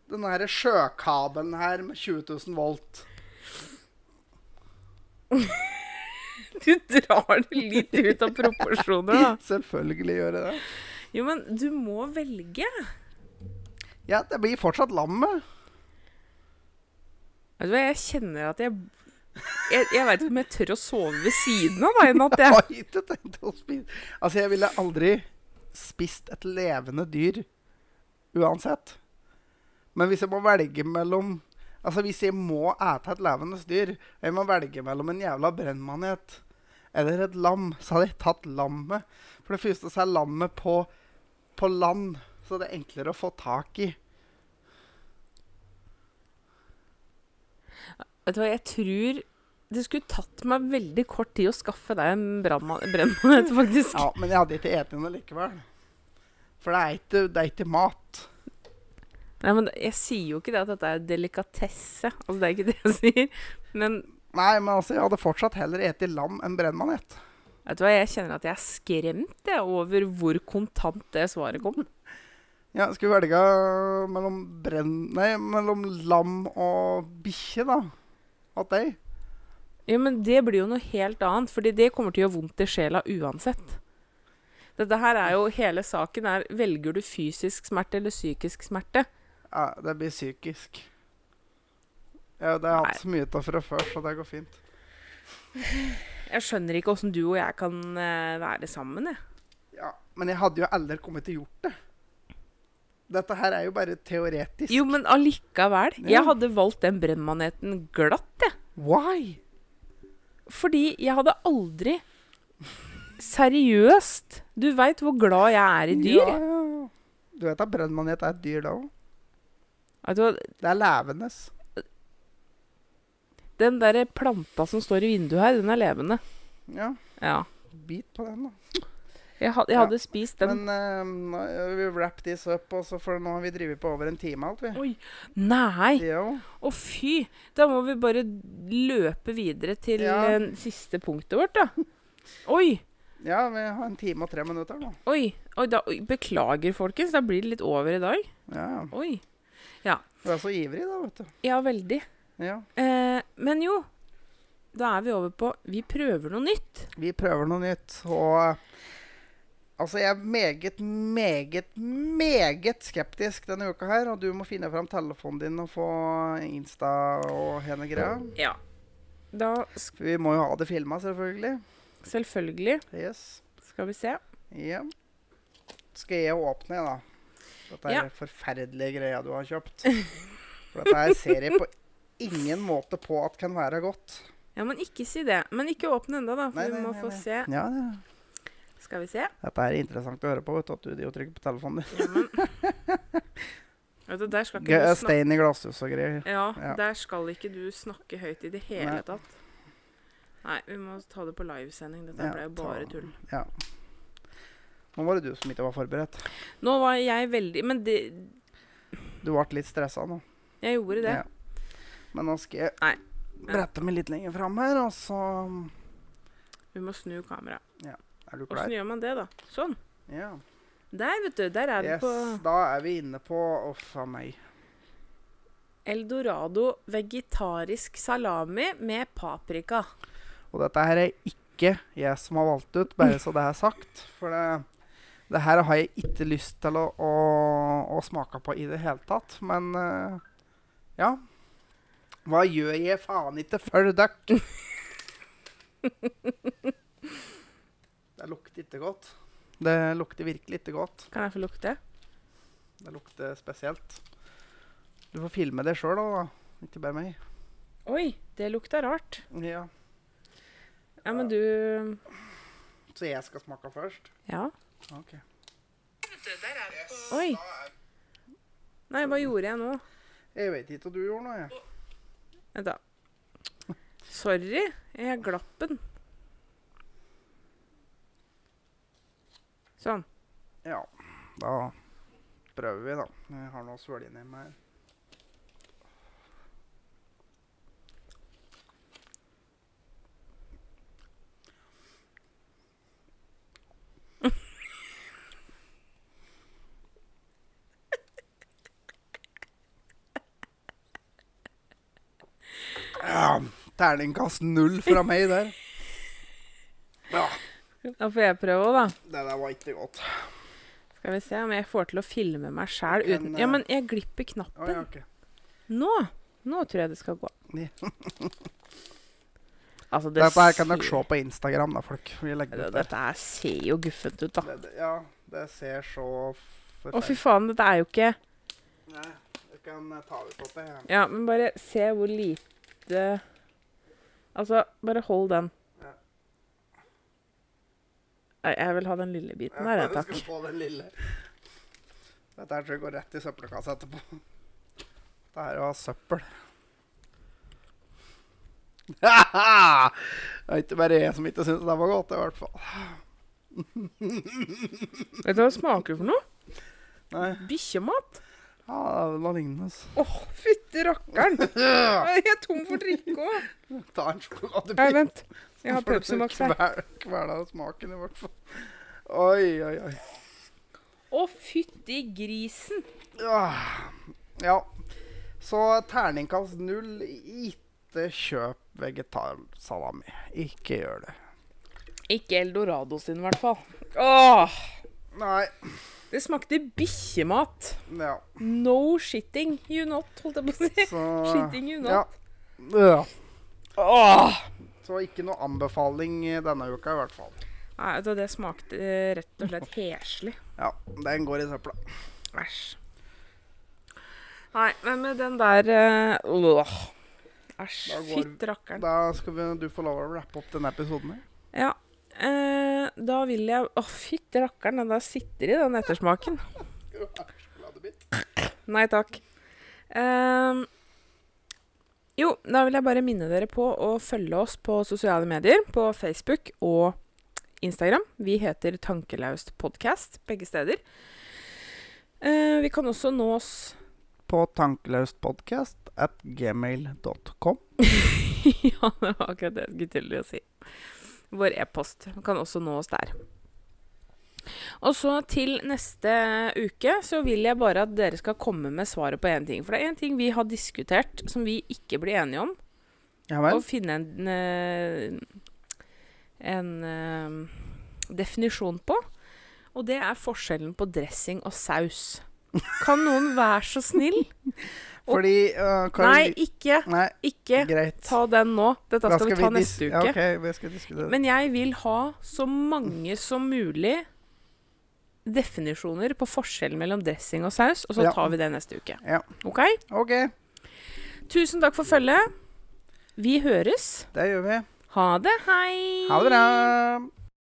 Speaker 1: den her sjøkabelen her med 20 000 volt?
Speaker 2: Du drar det litt ut av proporsjoner, da.
Speaker 1: Selvfølgelig gjør jeg det.
Speaker 2: Jo, men du må velge.
Speaker 1: Ja, det blir fortsatt lammet.
Speaker 2: Vet du hva, jeg kjenner at jeg Jeg, jeg veit ikke om jeg tør å sove ved siden av deg i natt,
Speaker 1: Jeg
Speaker 2: jeg.
Speaker 1: har ikke tenkt å spise Altså, jeg ville aldri spist et levende dyr uansett. Men hvis jeg må velge mellom Altså, hvis jeg må ete et levende dyr, og jeg må velge mellom en jævla brennmanet eller et lam, så hadde jeg tatt lammet. For det første så er lammet på, på land, så det er enklere å få tak i.
Speaker 2: Vet du hva, jeg tror det skulle tatt meg veldig kort tid å skaffe deg en brannma- brennmanet, faktisk.
Speaker 1: Ja, men jeg hadde ikke spist noe likevel. For det er ikke, det er ikke mat.
Speaker 2: Nei, men jeg sier jo ikke det at dette er delikatesse. Altså, det er ikke det jeg sier. Men
Speaker 1: Nei, men altså, jeg hadde fortsatt heller spist lam enn brennmanet.
Speaker 2: vet du hva, jeg kjenner at jeg er skremt jeg, over hvor kontant det svaret kom.
Speaker 1: Ja, skal vi velge øh, mellom brenn... Nei, mellom lam og bikkje, da? At deg?
Speaker 2: Ja, men det blir jo noe helt annet, fordi det kommer til å gjøre vondt i sjela uansett. Dette her er jo, Hele saken er velger du fysisk smerte eller psykisk smerte.
Speaker 1: Ja, det blir psykisk. Ja, det har jeg
Speaker 2: Nei.
Speaker 1: hatt så mye av fra før, så det går fint.
Speaker 2: Jeg skjønner ikke åssen du og jeg kan eh, være sammen. jeg.
Speaker 1: Ja, Men jeg hadde jo aldri kommet til å gjort det. Dette her er jo bare teoretisk.
Speaker 2: Jo, men allikevel.
Speaker 1: Ja.
Speaker 2: Jeg hadde valgt den brennmaneten glatt, jeg.
Speaker 1: Why?
Speaker 2: Fordi jeg hadde aldri Seriøst! Du veit hvor glad jeg er i dyr.
Speaker 1: Ja, ja, ja. Du vet at brennmanet er et dyr, da òg?
Speaker 2: Vet du hva,
Speaker 1: Det er levende.
Speaker 2: Den derre planta som står i vinduet her, den er levende.
Speaker 1: Ja,
Speaker 2: Ja.
Speaker 1: bit på den, da.
Speaker 2: Jeg, had, jeg
Speaker 1: Ja,
Speaker 2: hadde spist den.
Speaker 1: Men eh, nå, vi wrap this up, og så for nå har vi drevet på over en time alt, vi.
Speaker 2: Oi! Nei!
Speaker 1: Jo.
Speaker 2: Å, fy! Da må vi bare løpe videre til
Speaker 1: Ja.
Speaker 2: eh, siste punktet vårt, da. Oi!
Speaker 1: Ja, vi har en time og tre minutter nå.
Speaker 2: Oi! oi, da, oi beklager, folkens. Da blir det litt over i dag.
Speaker 1: Ja, ja.
Speaker 2: Oi.
Speaker 1: Du er så ivrig, da, vet du.
Speaker 2: Ja, veldig.
Speaker 1: Ja.
Speaker 2: Eh, men jo, da er vi over på Vi prøver noe nytt.
Speaker 1: Vi prøver noe nytt, og Altså, jeg er meget, meget, meget skeptisk denne uka her, og du må finne fram telefonen din og få Insta og hele greia.
Speaker 2: Ja. Da s-
Speaker 1: For vi må jo ha det filma, selvfølgelig.
Speaker 2: Selvfølgelig.
Speaker 1: Yes.
Speaker 2: Skal vi se.
Speaker 1: Ja. Skal jeg åpne, da? Dette
Speaker 2: Ja.
Speaker 1: er forferdelige greia du har kjøpt. For dette her ser jeg på ingen måte på at kan være godt.
Speaker 2: Ja, men ikke si det. Men ikke åpne ennå, da, for
Speaker 1: Nei,
Speaker 2: vi
Speaker 1: nei,
Speaker 2: må
Speaker 1: nei,
Speaker 2: få
Speaker 1: nei.
Speaker 2: se.
Speaker 1: Ja, ja.
Speaker 2: Skal vi se.
Speaker 1: Dette er interessant å høre på, vet du, at du driver og trykker på telefonen din.
Speaker 2: Vet du, der skal ikke
Speaker 1: Gøy, eh,
Speaker 2: du snakke
Speaker 1: Stein i glasshus og greier.
Speaker 2: ja,
Speaker 1: Ja.
Speaker 2: der skal ikke du snakke høyt i det hele
Speaker 1: Nei.
Speaker 2: tatt. Nei, vi må ta det på livesending.
Speaker 1: Ja,
Speaker 2: Dette ble jo
Speaker 1: ta-
Speaker 2: bare tull.
Speaker 1: Nå var det du som ikke var forberedt.
Speaker 2: Nå var jeg veldig Men det,
Speaker 1: Du ble litt stressa nå.
Speaker 2: jeg gjorde det.
Speaker 1: Ja. Men nå skal jeg
Speaker 2: Nei.
Speaker 1: brette meg litt lenger fram her, altså. og så
Speaker 2: Vi må snu kameraet.
Speaker 1: Er du klar?
Speaker 2: Åssen gjør man det, da? Sånn.
Speaker 1: Ja.
Speaker 2: Der, vet du. Der er vi
Speaker 1: Yes,
Speaker 2: på
Speaker 1: da er vi inne på Uff a meg.
Speaker 2: Eldorado vegetarisk salami med paprika.
Speaker 1: Og dette her er ikke jeg som har valgt ut, bare så det er sagt. For det, det her har jeg ikke lyst til å, å, å smake på i det hele tatt. Men eh, ja. Hva gjør jeg faen ikke for dere? Det lukter ikke godt. Det lukter virkelig ikke godt.
Speaker 2: Kan jeg få lukte?
Speaker 1: Det lukter spesielt. Du får filme det sjøl òg, da. Ikke bare meg.
Speaker 2: Oi, det lukta rart.
Speaker 1: Ja.
Speaker 2: Ja, men du
Speaker 1: Så jeg skal smake først?
Speaker 2: Ja.
Speaker 1: Ok.
Speaker 2: Oi. Nei, hva gjorde jeg nå?
Speaker 1: Jeg vet ikke hva du gjorde nå, jeg.
Speaker 2: Vent, da. Sorry, jeg glapp den. Sånn.
Speaker 1: Ja, da prøver vi, da. Jeg har noe å svølge ned med her. Ja, terningkast null fra meg der. Ja,
Speaker 2: Da får jeg prøve òg, da.
Speaker 1: det der var ikke godt.
Speaker 2: Skal vi se om jeg får til å filme meg sjæl
Speaker 1: Kan,
Speaker 2: uten
Speaker 1: eh,
Speaker 2: Ja, men jeg glipper
Speaker 1: Å, ja,
Speaker 2: knappen.
Speaker 1: ok.
Speaker 2: Nå! Nå tror jeg det skal gå.
Speaker 1: Ja.
Speaker 2: Altså, det
Speaker 1: Dette her kan dere
Speaker 2: ser-
Speaker 1: se på Instagram, da, folk. Vi legger
Speaker 2: Det-
Speaker 1: ut der.
Speaker 2: Dette her ser jo guffent ut, da.
Speaker 1: Det, det, ja, det ser så
Speaker 2: Å, fy
Speaker 1: forferdelig
Speaker 2: faen, dette er jo ikke
Speaker 1: Nei, du kan eh, ta ut på det. ja.
Speaker 2: Ja, men bare se hvor lite Altså, bare hold den.
Speaker 1: Ja.
Speaker 2: Nei, jeg vil ha den lille biten
Speaker 1: Ja,
Speaker 2: der, jeg,
Speaker 1: du
Speaker 2: takk.
Speaker 1: skal få den lille. Dette her tror jeg går rett i søppelkassa etterpå. Det er jo søppel. det er ikke bare jeg som ikke syns det var godt, i hvert fall.
Speaker 2: Vet du hva det smaker for noe?
Speaker 1: Nei,
Speaker 2: Bikkjemat?
Speaker 1: ja, det er noe lignende.
Speaker 2: Åh, fytti rakkeren! Jeg er tom for drikke òg.
Speaker 1: Ta en sjokoladebit.
Speaker 2: Nei, vent. Jeg har Pepsi Max her.
Speaker 1: her. Kveler smaken, i hvert fall. Oi, oi, oi.
Speaker 2: Å, fytti grisen!
Speaker 1: Ah, Ja. Så terningkast null. Ikke kjøp vegetarsalami. Ikke gjør det.
Speaker 2: Ikke Eldorado sin, i hvert fall. Åh!
Speaker 1: Nei.
Speaker 2: Det smakte bikkjemat.
Speaker 1: Ja.
Speaker 2: No shitting you not, holdt jeg på å si.
Speaker 1: Så
Speaker 2: Shitting you
Speaker 1: ja.
Speaker 2: not.
Speaker 1: ja.
Speaker 2: Åh!
Speaker 1: Så ikke noe anbefaling eh, denne uka, i hvert fall.
Speaker 2: Nei, vet du, det smakte eh, rett og slett heslig.
Speaker 1: Ja, den går i søpla.
Speaker 2: Æsj. Nei, men med den der eh, Åh. Æsj.
Speaker 1: Da går-
Speaker 2: Fytt rakkeren.
Speaker 1: Da skal vi, du få lov å rappe opp denne episoden. her.
Speaker 2: Ja. Eh, da vil jeg Å, fytti rakkeren, den der sitter i den ettersmaken. Nei takk. Ehm, jo, da vil jeg bare minne dere på å følge oss på sosiale medier, på Facebook og Instagram. Vi heter Tankelaust podkast begge steder. Eh, vi kan også nå oss
Speaker 1: På tankeløstpodkast at gmail.com.
Speaker 2: Ja, det var akkurat det jeg skulle til å si. Vår e-post kan også nå oss der. Og så til neste uke så vil jeg bare at dere skal komme med svaret på én ting. For det er én ting vi har diskutert som vi ikke blir enige om.
Speaker 1: Ja
Speaker 2: Å
Speaker 1: vel?
Speaker 2: finne en, eh, en eh, definisjon på. Og det er forskjellen på dressing og saus. Kan noen være så snill?
Speaker 1: Fordi eh,
Speaker 2: Nei,
Speaker 1: Karoli-
Speaker 2: ikke.
Speaker 1: Nei,
Speaker 2: Ikke
Speaker 1: greit.
Speaker 2: ta den nå. Dette
Speaker 1: Da
Speaker 2: skal vi ta
Speaker 1: dis-
Speaker 2: neste uke.
Speaker 1: Ja, ok, vi skal diskutere det.
Speaker 2: Men jeg vil ha så mange som mulig definisjoner på forskjellen mellom dressing og saus, og så
Speaker 1: Ja.
Speaker 2: tar vi det neste uke.
Speaker 1: Ja.
Speaker 2: Ok?
Speaker 1: OK,
Speaker 2: Tusen takk for følget. Vi høres.
Speaker 1: det gjør vi.
Speaker 2: Ha det. Hei.
Speaker 1: Ha det bra.